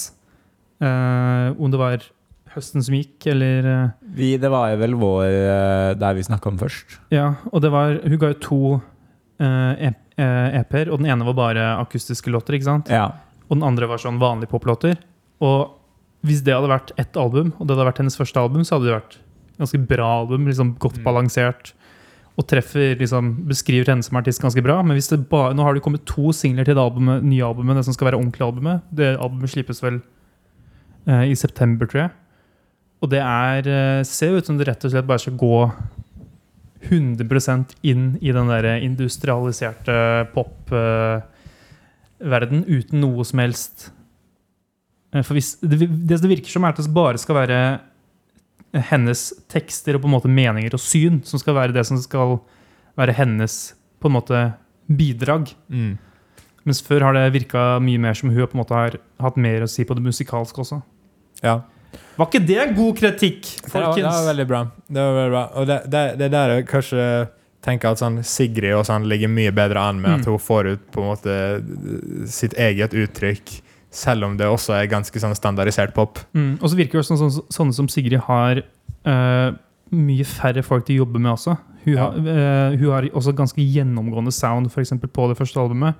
eh, Om det var høsten som gikk, eller eh,
Vi, det var jo vel vår eh, der vi snakka om først.
Ja, og det var Hun ga jo to eh, ep- eh, EP-er, og den ene var bare akustiske låter, ikke sant?
Ja.
Og den andre var sånn vanlige poplåter. Og hvis det hadde vært ett album, og det hadde vært hennes første album, så hadde det vært ganske bra album, liksom godt
Mm.
balansert, og treffer, liksom, beskriver henne som artist ganske bra. Men hvis det bare, nå har det kommet to singler til det albumet, nye albumet, det som skal være ordentlig albumet. Det albumet slippes vel eh, i september, tror jeg. Og det er, eh, ser jo ut som det rett og slett bare skal gå 100 inn i den der industrialiserte eh, popverden uten noe som helst Eh, For hvis, det, det det virker som, er at det bare skal være hennes tekster og på en måte meninger og syn som skal være det som skal være hennes på en måte bidrag.
Mm.
Mens før har det virka mye mer som hun på en måte har hatt mer å si på det musikalske også.
Ja.
Var ikke det god kritikk,
Det var, det
folkens?
var veldig bra. Det var veldig bra. Og det, det, det der jeg kanskje tenker at sånn Sigrid og sånn ligger mye bedre an med
Mm.
at hun får ut på en måte sitt eget uttrykk, selv om det også er ganske sånn standardisert pop.
Mm, og så virker det som sånn, sånne som Sigrid har eh, mye færre folk de jobber med også. Hun,
Ja.
har, eh, hun har også ganske gjennomgående sound for eksempel, på det første albumet.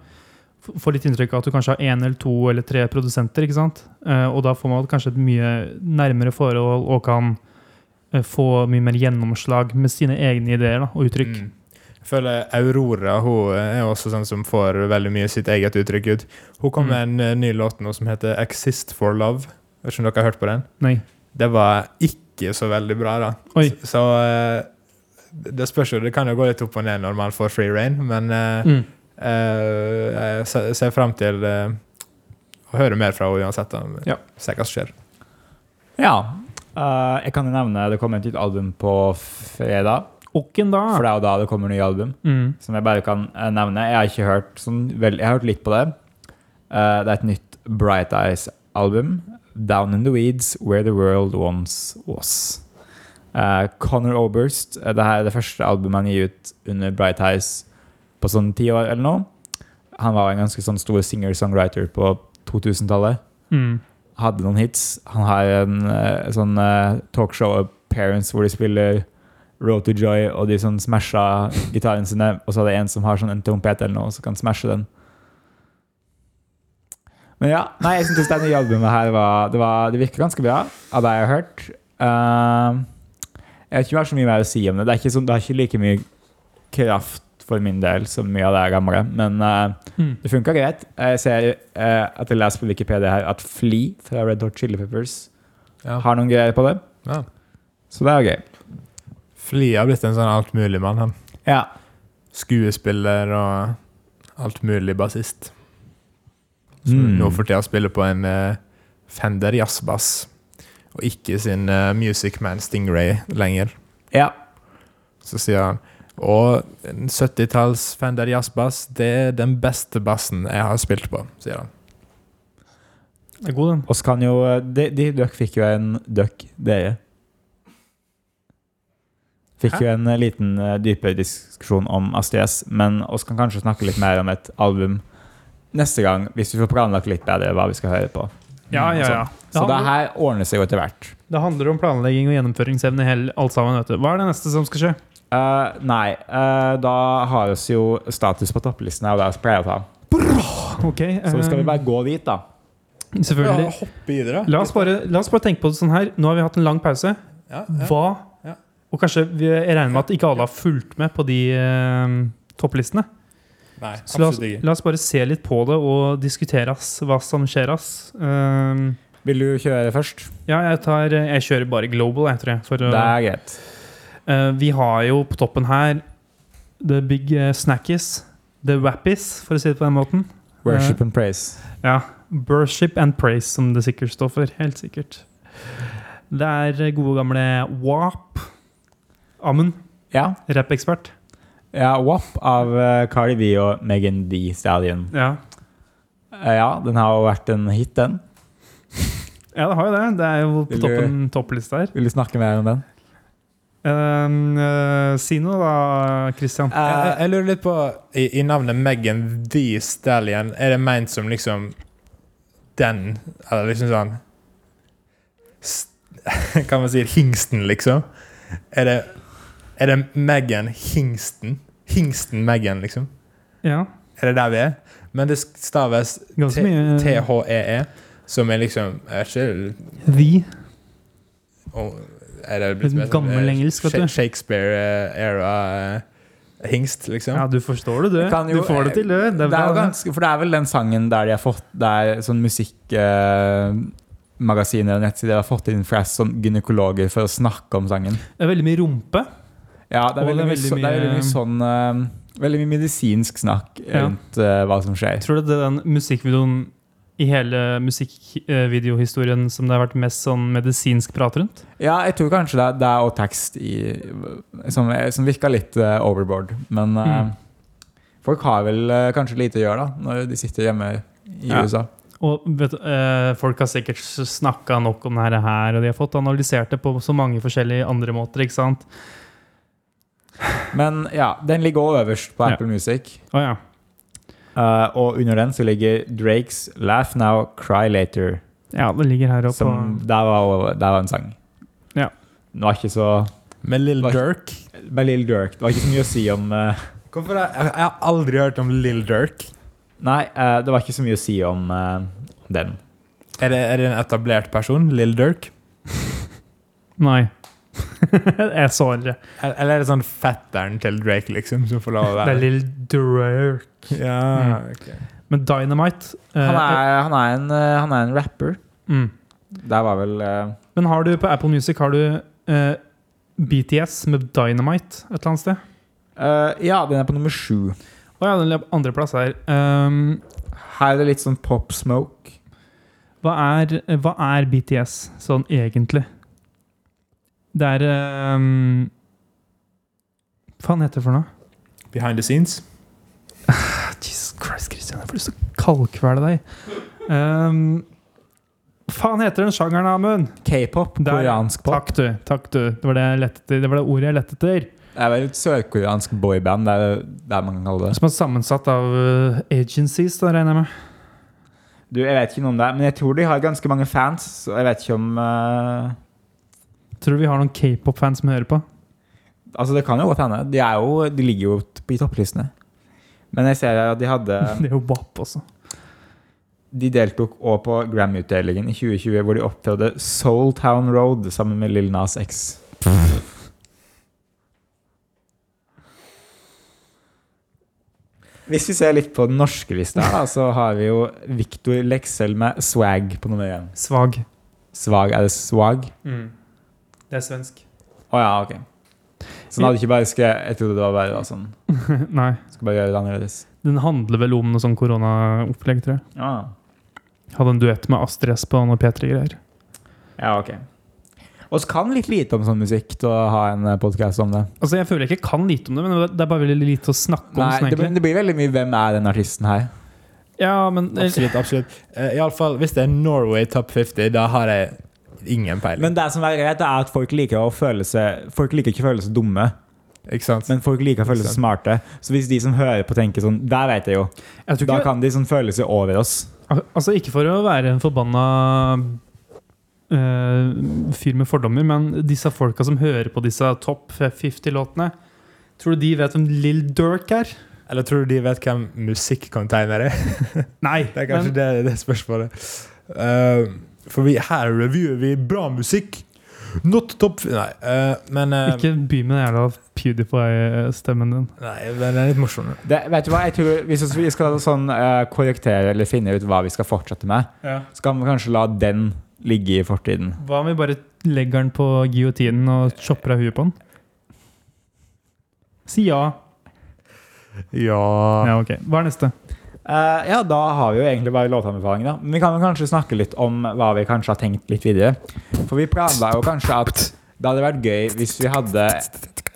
F- Får litt inntrykk av at du kanskje har én eller to eller tre produsenter. ikke sant? Eh, og da får man kanskje et mye nærmere forhold og kan eh, få mye mer gjennomslag med sine egne ideer da, og uttrykk.
Mm. Jeg føler Aurora hun er også sånn som får veldig mye sitt eget uttrykk ut. Hun
Mm.
kom med en eh, ny låt nå som heter 'Exist for Love'. Jeg vet ikke om dere har hørt på den?
Nei.
Det var ikke så veldig bra, da.
Oi.
Så, så eh, det spørs jo, det kan jo gå litt opp og ned når man får free rein, men eh,
Mm.
Eh, jeg se- ser frem til eh, å høre mer fra henne uansett. da.
Ja.
Se hva som skjer.
ja. Eh, jeg kan jo nevne det kommer et nytt album på fredag.
Og en da.
For det er jo da det kommer nye album.
Mm.
Som jeg bare kan eh, nevne. Jeg har ikke hørt sånn vel, Jeg har hørt litt på det. Eh, det er et nytt Bright Eyes-album. 'Down in the Weeds Where the World Once Was'. Eh, Connor Oberst. eh, det her er det første albumet han gir ut under Bright Eyes på sånn ti år eller noe. Han var en ganske sånn stor singer-songwriter på 2000-tallet
Mm.
hadde noen hits. Han har en eh, sånn eh, talkshow Appearance hvor de spiller Road to Joy, og de sånn smasha gitarene sine. Og så er det en som har sånn en trompet eller noe, som kan smashe den. Men ja, nei, jeg synes det nye albumet her var det, var det virker ganske bra, av det jeg har hørt. Ehm, jeg vet ikke om jeg har så mye mer å si om det. Det er ikke, sånn, det er ikke like mye kraft for min del som mye av det gamle, men eh,
Mm.
det funka greit. Jeg ser eh, at jeg leser på Wikipedia her at Flea fra Red Hot Chili Peppers har noen greier på det.
Ja.
Så det er jo gøy.
Fly har blitt en sånn altmuligmann. han.
Ja.
Skuespiller og altmulig bassist. Så
Mm.
Nå for tida spiller på en eh, Fender jazzbass, og ikke sin eh, Music Man Stingray lenger.
ja.
Så sier han og en 70-talls Fender jazzbass, det er den beste bassen jeg har spilt på, sier han.
Det er god, den.
Og så kan jo eh, de, de, Dere fikk jo en Dere, dere. Fikk
Hæ?
jo en eh, liten eh, dypere diskusjon om Astrid S, men vi kan kanskje snakke litt mer om et album neste gang, hvis vi får planlagt litt bedre hva vi skal høre på.
Ja, ja, ja.
Så
Det
det
handler-
her ordner seg jo etter hvert.
Det handler om planlegging og gjennomføringsevne. i hele- alt sammen, vet du. Hva er det neste som skal skje? [laughs]
Eh, nei, eh, da har vi jo status på topplisten her, og det er pleier å ta.
Ok,
Så skal vi
eh,
bare gå dit, da.
Selvfølgelig.
hopp i det,
La oss, bare, la oss bare tenke på det sånn her. Nå har vi hatt en lang pause.
Ja,
Hva
Ja.
Og kanskje vi, jeg regner med at ikke alle har fulgt med på de eh, topplistene.
Nei,
Så la oss,
absolutt ikke.
la oss bare se litt på det og diskutere ass, hva som skjer. Ass. Ehm,
Vil du kjøre først?
ja, jeg, tar, jeg kjører bare Global, jeg, tror jeg. For, å-
Det er greit.
Eh, vi har jo på toppen her The Big eh, Snackies. The Wappies, for å si det på den måten.
Worship and praise.
Ja, Worship and Praise, som det sikkert står for. Helt sikkert. Det er eh, gode gamle WAP. Amund,
Ja.
rappekspert.
ja WAP av eh, Cardi B og Megan D. Stallion.
Ja.
Eh, Ja, den har jo vært en hit, den.
ja, det har jo det. Det er jo på
Vil du-
toppen topplista her.
Vil du snakke mer om den?
Eh, eh, si noe, da, Christian.
Eh,
Jeg, jeg, jeg lurer litt på I, i navnet Megan The Stallion, er det ment som liksom den Eller liksom sånn st- [laughs] Kan man si hingsten, liksom? Er det, er det Megan Hingsten? Hingsten Megan, liksom?
Ja,
Er det der vi er? Men det staves
ganske
T-
mye
THEE, som er liksom Er ikke
Vi.
og- er det
En gammel
eh,
engelsk, vet du.
Shakespeare-era-hingst, liksom?
Ja, du forstår det, du.
Jeg kan jo-
du får det til, du. Det
Det er
er
jo
bra, det.
ganske, for det er vel den sangen der de har fått Det er sånn eh, musikkmagasin eller nettside de har fått inn Frass som gynekologer for å snakke om sangen.
Det er veldig mye rumpe.
Ja, det er
Og
veldig, mye, så- det er veldig mye sånn eh, Veldig mye medisinsk snakk
Ja.
rundt eh, hva som skjer.
Tror du det er den musikkvideoen i hele musikkvideohistorien som det har vært mest sånn medisinsk prat rundt?
Ja, jeg tror kanskje det, er- det er også tekst i, som, som virka litt eh, overboard. Men eh,
Mm.
folk har vel eh, kanskje lite å gjøre da, når de sitter hjemme i
Ja.
USA.
Og vet, du, eh, Folk har sikkert snakka nok om dette her, og de har fått analysert det på så mange forskjellige andre måter. ikke sant?
Men ja, den ligger også øverst på
Ja.
Apple Music.
Å ja.
Eh, og under den så ligger Drakes 'Laugh Now, Cry Later'.
ja, det ligger her oppe.
Som der var, der var en sang.
Ja.
Den var ikke så
Med Lill
Hva-
Durk.
Bare Lil Durk. Det var ikke så mye å si om eh,
Hvorfor har- jeg, jeg har aldri hørt om Lill Durk.
Nei, eh, det var ikke så mye å si om eh, om den.
Er det, er det en etablert person? Lill Durk?
Nei. [laughs] jeg sårer.
Eller eller er det sånn fetteren til Drake, liksom, som får lov å
Det er
være
Lill Durr.
Ja, ok.
Men Dynamite eh,
Han er, han er, en, eh, han er en rapper.
mm.
Der var vel eh,
Men har du på Apple Music har du eh, BTS med Dynamite et eller annet sted?
eh, Ja, den er på nummer sju.
Å ja, den andreplass her. Um,
Her er det litt sånn pop smoke.
Hva er, eh, hva er BTS sånn egentlig? Det er ehm, Hva faen heter det for noe? Ah,
Behind the scenes.
Jesus Christ, Christian, jeg får lyst til å kalkvele deg. Ehm, Hva faen heter den sjangeren, Amund?
K-pop.
Der.
Koreansk pop.
Takk, du. takk du Det var det, jeg lette etter. det var det ordet jeg lette etter.
Det er vel et sørkoreansk boyband, det er det man kan kalle det.
Som er sammensatt av eh, agencies, da, regner jeg med.
Du, Jeg vet ikke noe om det, men jeg tror de har ganske mange fans. Og jeg vet ikke om eh,
Tror du vi har noen k-pop-fans som hører på?
Altså, det kan jo godt hende. De, er jo, de ligger jo t- i topplistene. Men jeg ser at de hadde
[laughs] Det er jo WAP også.
De deltok også på Grammy-utdelingen i 2020, hvor de opptrådte Soul Town Road sammen med Lil Nas X. Hvis vi ser litt på den norske lista, her, da, så har vi jo Victor Leksell med Swag på nummer én.
Svag.
Svag er det swag?
Mm. Det er svensk.
Å ja, ok. Så den hadde ikke bare skrevet Jeg trodde det var bare var sånn.
[laughs] Nei.
Skal bare gjøre det annerledes.
Den handler vel om noe sånn koronaopplegg, tror jeg.
Ah.
Hadde en duett med Astrid S på noe P3-greier.
Ja, ok. Og så kan litt lite om sånn musikk til å ha en podkast om det.
Altså, jeg føler jeg ikke kan lite om det, men det er bare veldig lite å snakke om.
Nei,
sånn,
det, blir-
egentlig.
det blir veldig mye 'Hvem er den artisten her?'
Ja, men eh,
Absolutt. absolutt. Eh, i alle fall, hvis det er Norway Top 50, da har jeg ingen peiling.
Men det som er greit, det er at folk liker å føle seg Folk liker ikke å føle seg dumme,
Ikke sant?
men folk liker å føle seg smarte. Så hvis de som hører på, tenker sånn 'Der vet jeg jo',
jeg tror
da
ikke,
kan de sånn føle seg over oss.
al- altså, ikke for å være en forbanna eh, fyr med fordommer, men disse folka som hører på disse topp 50-låtene Tror du de vet hvem Lill Durk er?
Eller tror du de vet hvem musikkonteiner er?
Nei!
Det er kanskje det, det er spørsmålet. Eh, for vi, her reviewer vi bra musikk. Not top fi- Nei, eh, men eh,
Ikke by med den jævla PewDiePie-stemmen din.
Nei, den er litt morsom. da.
Det, vet du hva, jeg tror Hvis vi skal sånn, eh, korrektere eller finne ut hva vi skal fortsette med, skal vi kanskje la den ligge i fortiden.
Hva om vi bare legger den på giotinen og chopper av huet på den? Si ja.
Ja,
Ja, ok. Hva er neste?
Eh, ja, da har vi jo egentlig bare låtanbefaling, da. Men vi kan jo kanskje snakke litt om hva vi kanskje har tenkt litt videre. For vi planla jo kanskje at det hadde vært gøy hvis vi hadde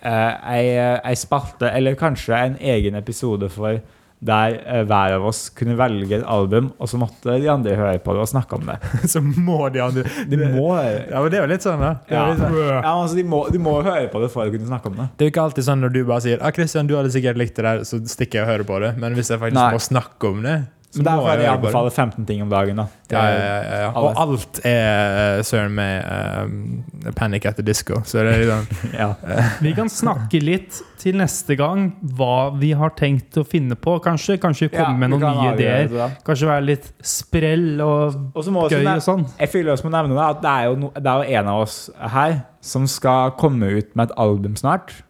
eh, ei, ei spalte, eller kanskje en egen episode for der eh, hver av oss kunne velge et album, og så måtte de andre høre på det og snakke om det.
[laughs] Så må de andre
De [laughs] må høre.
Ja, men Det er jo litt sånn, da. Det er
Ja.
jo litt sånn.
Ja, altså, de må, de må høre på det for å kunne snakke om det.
Det er jo ikke alltid sånn når du bare sier ah, 'Christian, du hadde sikkert likt det der', så stikker jeg og hører på det. Men hvis jeg faktisk
Nei.
må snakke om det,
Men
så
det er
må
fordi
jeg
jeg
høre på det.
anbefaler 15 ting om dagen. da. Det
Ja,
er-
ja, ja, ja. Og alt er eh, søren meg eh, Panic at the Disco. Så det er litt sånn
ja.
Vi kan snakke litt til neste gang hva vi har tenkt å finne på, kanskje. Kanskje komme
vi
med noen
kan
nye
avgjøre
ideer.
det da.
Kanskje være litt sprell og
Og så må også
gøy
nevne-
og sånn.
Jeg føler også må nevne det, at det er, jo no, det er jo en av oss her som skal komme ut med et album snart.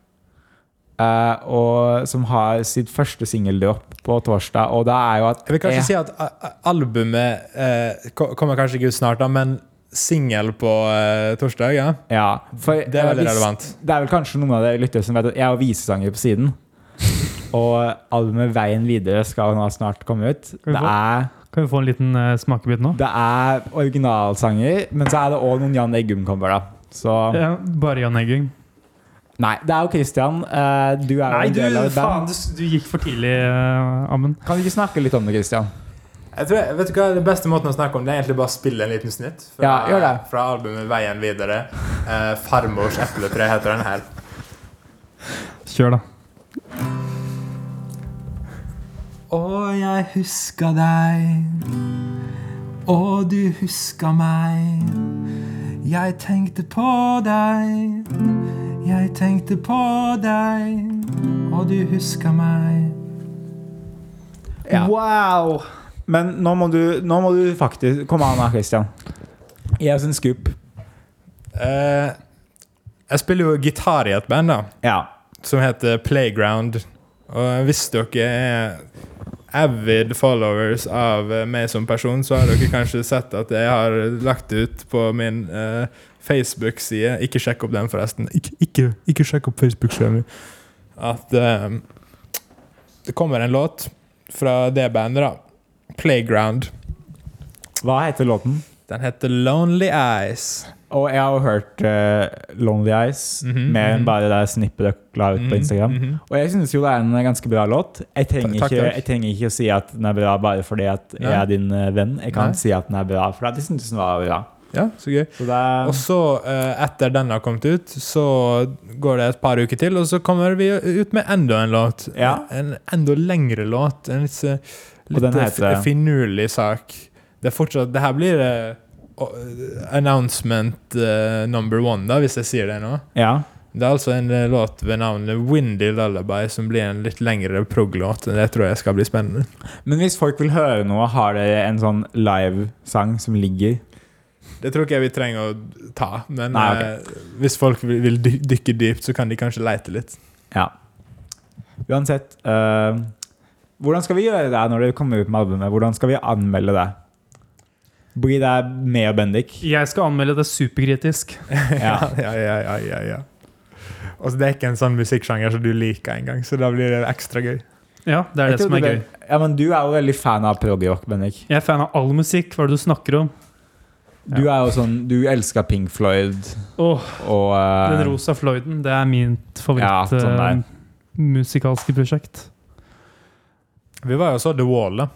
eh, og som har sitt første singeldråp på torsdag. Og det er jo at
Jeg vil kanskje
jeg-
si at eh, eh, albumet eh, ko- kommer kanskje ikke ut snart, da, men singel på eh, torsdag, ja.
ja, for,
Det
Eh,
er veldig
hvis-
relevant.
Det er vel kanskje noen av dere lyttere som vet at jeg har visesanger på
[laughs]
siden. Og albumet 'Veien videre' skal nå snart komme ut. Det
vi få-
er
Kan vi få en liten eh, smakebit nå?
Det er originalsanger, men så er det òg noen Jan Eggum-cover, da. Så
Ja, bare Jan Eggum.
Nei, det er jo Christian. eh, Du er jo
Nei,
en
du,
del av et
faen,
band.
du, du gikk for tidlig, eh, Amund.
Kan vi ikke snakke litt om det, Christian?
Jeg tror, jeg- vet du hva, Den beste måten å snakke om det er egentlig bare å spille en liten snutt fra,
Ja, gjør det.
fra albumet 'Veien videre'. Eh, 'Farmors epletre' heter den her.
Kjør, da.
Og jeg huska deg, og du huska meg. Jeg tenkte på deg, jeg tenkte på deg, og du huska meg.
Ja. Wow! Men nå må du, nå må du faktisk Kom an, da, Christian. Gi oss en scoop.
Eh, jeg spiller jo gitar i et band da
Ja.
som heter Playground. Og hvis dere er avid followers av eh, meg som person, så har dere kanskje sett at jeg har lagt ut på min eh, Facebook-side Ikke sjekk opp den, forresten. Ikke, ikke, ikke sjekk opp Facebook-sida mi. At eh, det kommer en låt fra det bandet, da. Playground.
Hva heter låten?
Den heter Lonely Eyes.
Og jeg har jo hørt eh, Lonely Eyes
Mhm,
mer enn
mhm.
bare det snippet dere la ut på Instagram.
Mhm, mhm.
Og jeg syns jo det er en ganske bra låt. Jeg trenger,
Takk, takk,
ikke,
takk.
jeg trenger ikke å si at den er bra bare fordi at jeg
Nei.
er din eh, venn. Jeg kan
Nei.
si at den er bra, for jeg syns den var bra.
Ja, så gøy.
Så det er,
Og så, eh, etter den har kommet ut, så går det et par uker til, og så kommer vi ut med enda en låt.
Ja.
En enda lengre låt. En litt, eh,
Og den
litt eh,
heter-
fi- finurlig sak. Det er fortsatt Det her blir eh, å- eh, announcement eh, number one, da, hvis jeg sier det nå.
ja.
Det er altså en eh, låt ved navnet Windy Lullaby, som blir en litt lengre prog-låt. Det tror jeg skal bli spennende.
Men hvis folk vil høre noe, har dere en sånn livesang som ligger?
Det tror ikke jeg vi trenger å ta, men
Nei, ok.
eh, hvis folk vil, vil dy- dykke dypt, så kan de kanskje leite litt.
Ja. Uansett eh, Hvordan skal vi gjøre det når dere kommer ut med albumet? Hvordan skal vi anmelde det? Blir det med og Bendik?
Jeg skal anmelde det superkritisk.
Ja.
[laughs] Ja, ja, ja, ja, ja, ja. Og så det er ikke en sånn musikksjanger som du liker engang, så da blir det ekstra gøy.
Ja, det er
Jeg
det som
trodde
er gøy.
det- Ja, men Du er jo veldig fan av prog-rock, Bendik.
Jeg er fan av all musikk. Hva er det du snakker om?
Du er jo sånn, du elsker Pink Floyd
Åh,
og eh,
den rosa Floyden. Det er mitt
Ja,
favoritt
sånn der.
eh, musikalske prosjekt.
Vi var jo så The Wall da,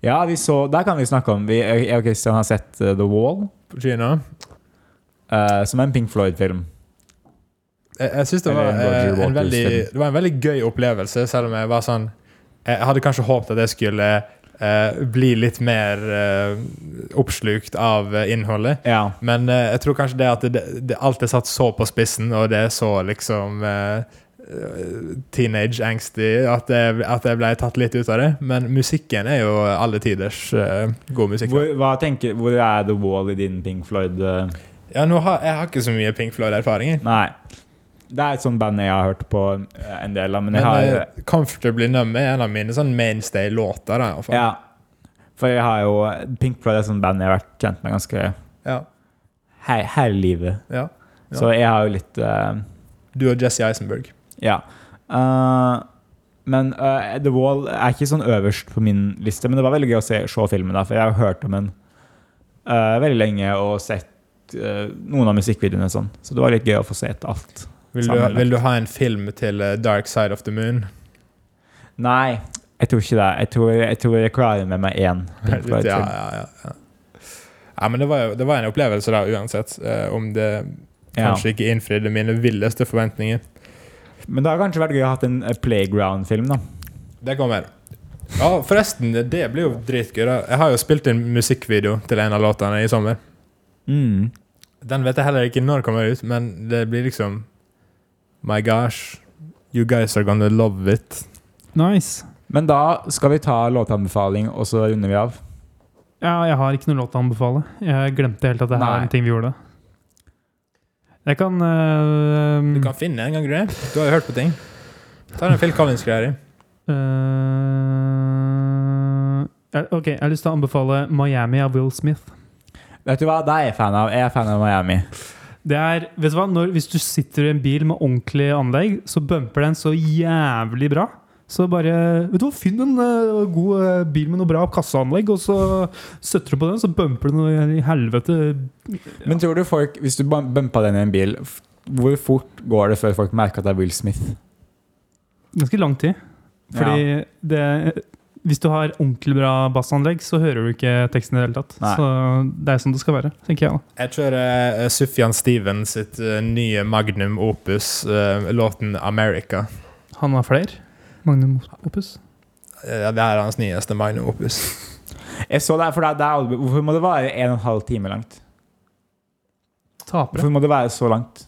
Ja, vi så, der kan vi snakke om. Vi, jeg og Christian har sett eh, The Wall,
på kino.
eh, som er en Pink Floyd-film.
Jeg, jeg synes det var,
Eller en Roger
eh, en
Waters
veldig,
film.
det var en veldig gøy opplevelse, selv om jeg var sånn Jeg hadde kanskje håpet at jeg skulle eh, bli litt mer eh, oppslukt av eh, innholdet.
Ja.
Men eh, jeg tror kanskje det at det, det, alt er satt så på spissen, og det er så liksom eh, eh, teenage-angstig, at, jeg- at jeg ble tatt litt ut av det. Men musikken er jo alle tiders eh, god musikk.
Hvor, hva tenker, hvor er The Wall i din Pink Floyd? eh?
Ja, nå har, jeg har ikke så mye Pink Floyd-erfaringer.
Nei. Det er et sånt band jeg har hørt på eh, en del av, men
Men
jeg har
eh, Comfortably Numb er en av mine sånn mainstay-låter. da, i hvert fall.
Ja. For jeg har jo Pink Floyd er et sånt band jeg har vært kjent med ganske
Ja,
he- hele livet.
ja. Ja.
Så jeg har jo litt eh,
Du og Jesse Eisenberg.
Ja. Eh, men eh, The Wall er ikke sånn øverst på min liste, men det var veldig gøy å se, se filmen, da, for jeg har hørt om den eh, veldig lenge og sett eh, noen av musikkvideoene og sånn. Så det var litt gøy å få sett alt.
Vil du,
Sammenlagt.
vil du ha en film til eh, Dark Side of the
[laughs]
Moon?
Nei, jeg tror ikke det. Jeg tror jeg, tror jeg klarer med meg én. Pink
[laughs] ja,
Floyd-film.
ja, ja, ja. ja, men det var, jo- det var en opplevelse da, uansett. eh, om det
Ja.
kanskje ikke innfridde mine villeste forventninger.
Men det har kanskje vært gøy å ha hatt en eh, playground-film, da.
Det kommer. Ja, forresten, det blir jo dritgøy. da. Jeg har jo spilt inn musikkvideo til en av låtene i sommer.
Mm.
Den vet jeg heller ikke når kommer ut, men det blir liksom My gosh, you guys are gonna love it.
Nice.
Men da skal vi ta låtanbefaling, og så runder vi av.
Ja, jeg har ikke noen låt å anbefale. Jeg glemte helt at det her
Nei.
er en ting vi gjorde. Jeg kan, eh,
Du kan finne en gang, Grønne. Du har jo hørt på ting. Ta den Phil Collins-greia di.
eh, eh, Ok, jeg har lyst til å anbefale Miami av Will Smith.
Vet du hva, det er jeg fan av. Jeg er fan av Miami.
Det er, vet du hva, Når, Hvis du sitter i en bil med ordentlig anlegg, så bumper den så jævlig bra. Så bare vet du hva, Finn en eh, god eh, bil med noe bra kasseanlegg, og så støtter du på den, så bumper det noe i helvete.
Men tror du folk, hvis du bum- bumpa den i en bil, f- hvor fort går det før folk merker at det er Will Smith?
Ganske lang tid. Fordi det Hvis du har ordentlig bra bassanlegg, så hører du ikke teksten i det hele tatt.
Nei.
Så det er sånn det skal være, tenker jeg. da.
Jeg kjører uh, Sufjan Stevens sitt eh, nye magnum opus, eh, låten 'America'.
Han har flere. Magnum Opus.
Eh, det er hans nyeste magnum opus.
Jeg så det, her, for det, er- det er, albu- hvorfor må det være en og en halv time langt?
Tapere.
Hvorfor må det være så langt?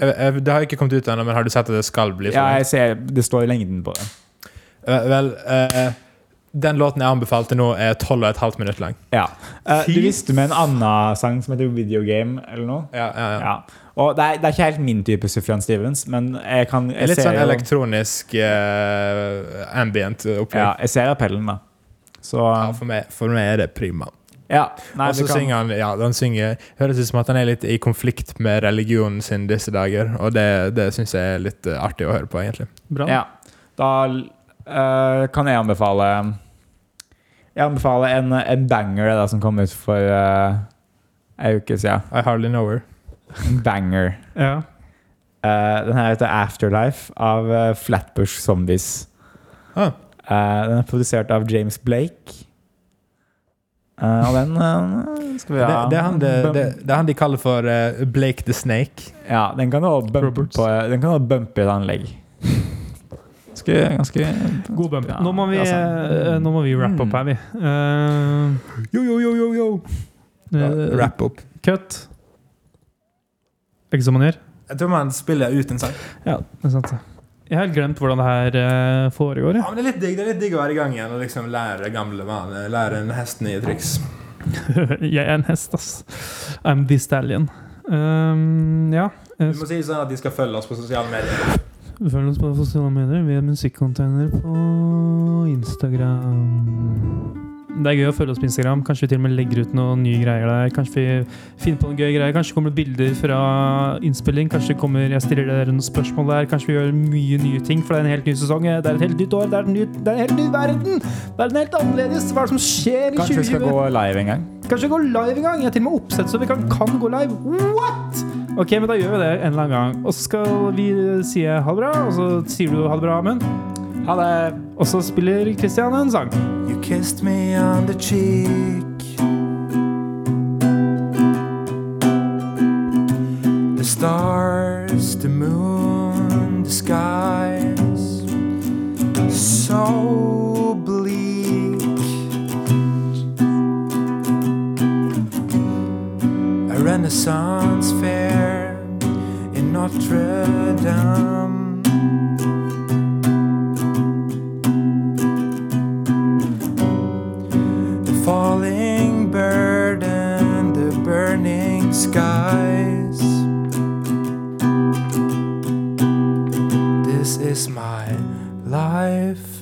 Jeg- jeg- Eh, Det har ikke kommet ut ennå, men har du sett at det skal bli
Ja,
sånn?
jeg ser, det står i lengden på det.
Eh, vel, eh, den låten jeg anbefalte nå, er 12,5 minutter lang.
Ja. Eh,
Fy
du visste med en annen sang som heter Videogame, eller noe?
Ja, ja, ja.
Ja. Og det er, det er ikke helt min type Sufjan Stevens, men jeg kan jeg
Litt
ser
sånn
jo-
elektronisk eh, ambient
Ja,
opplegg.
jeg ser appellen, da. Så
Ja, for, meg, for meg er det prima.
Ja. Nei,
Og så
vi kan-
synger han ja, han synger, Høres ut som at han er litt i konflikt med religionen sin disse dager, og det, det syns jeg er litt eh, artig å høre på, egentlig.
Bra.
Ja. Da eh, kan jeg anbefale Jeg anbefaler en, en banger da, som kom ut for uh, ei uke siden.
I hardly know her.
En banger.
Ja.
Eh, den her heter Afterlife av eh, Flatbush Zombies.
Ah.
Eh, den er produsert av James Blake. Eh, og den eh, skal vi ha
Det, det, er han, det, det, det er han de kaller for eh, Blake the Snake.
Ja, den kan du også bumpe
Roberts.
på Den kan du også bumpe i et anlegg. Ganske, ganske
God bump.
Ja,
nå, må vi,
ja, sant.
eh, nå må vi wrap opp her, vi. Eh,
Yo, yo, yo, yo, yo.
eh,
Wrap up.
Cut. Er ikke som man gjør?
Jeg tror man spiller ut en sang.
Ja, det er sant. det. Jeg har helt glemt hvordan det her eh, foregår.
Ja, men det er litt digg Det er litt digg å være i gang igjen og liksom lære gamle vaner. Lære en hest nye triks.
Jeg. [laughs] jeg er en hest, ass. I'm the stallion. Um, ja.
Du må si sånn at de skal følge oss på sosiale medier.
Følg oss på sosiale medier. Vi er musikkonteiner på Instagram. Det er gøy å følge oss på Instagram. Kanskje vi til og med legger ut noen nye greier der. Kanskje vi finner på noen gøye greier. Kanskje det kommer bilder fra innspilling. Kanskje det kommer, jeg stiller dere noen spørsmål der. Kanskje vi gjør mye nye ting, for det er en helt ny sesong. Det er et helt nytt år. Det er en, ny, det er en helt ny verden. Det er en helt annerledes. Hva er det som skjer i 2020?
Kanskje vi skal gå live en gang?
Kanskje gå live en gang? Jeg har til og med oppsett så vi kan, kan gå live. What?! Ok, men da gjør vi det en eller annen gang. Og så skal vi si ha det bra, og så sier du ha det bra, Amund.
Ha det!
Og så spiller Christian en sang.
You kissed me on the cheek. The stars, the moon, the skies, so bleak. A Renaissance fair in Notre Dame. The falling bird and the burning sky. is my life.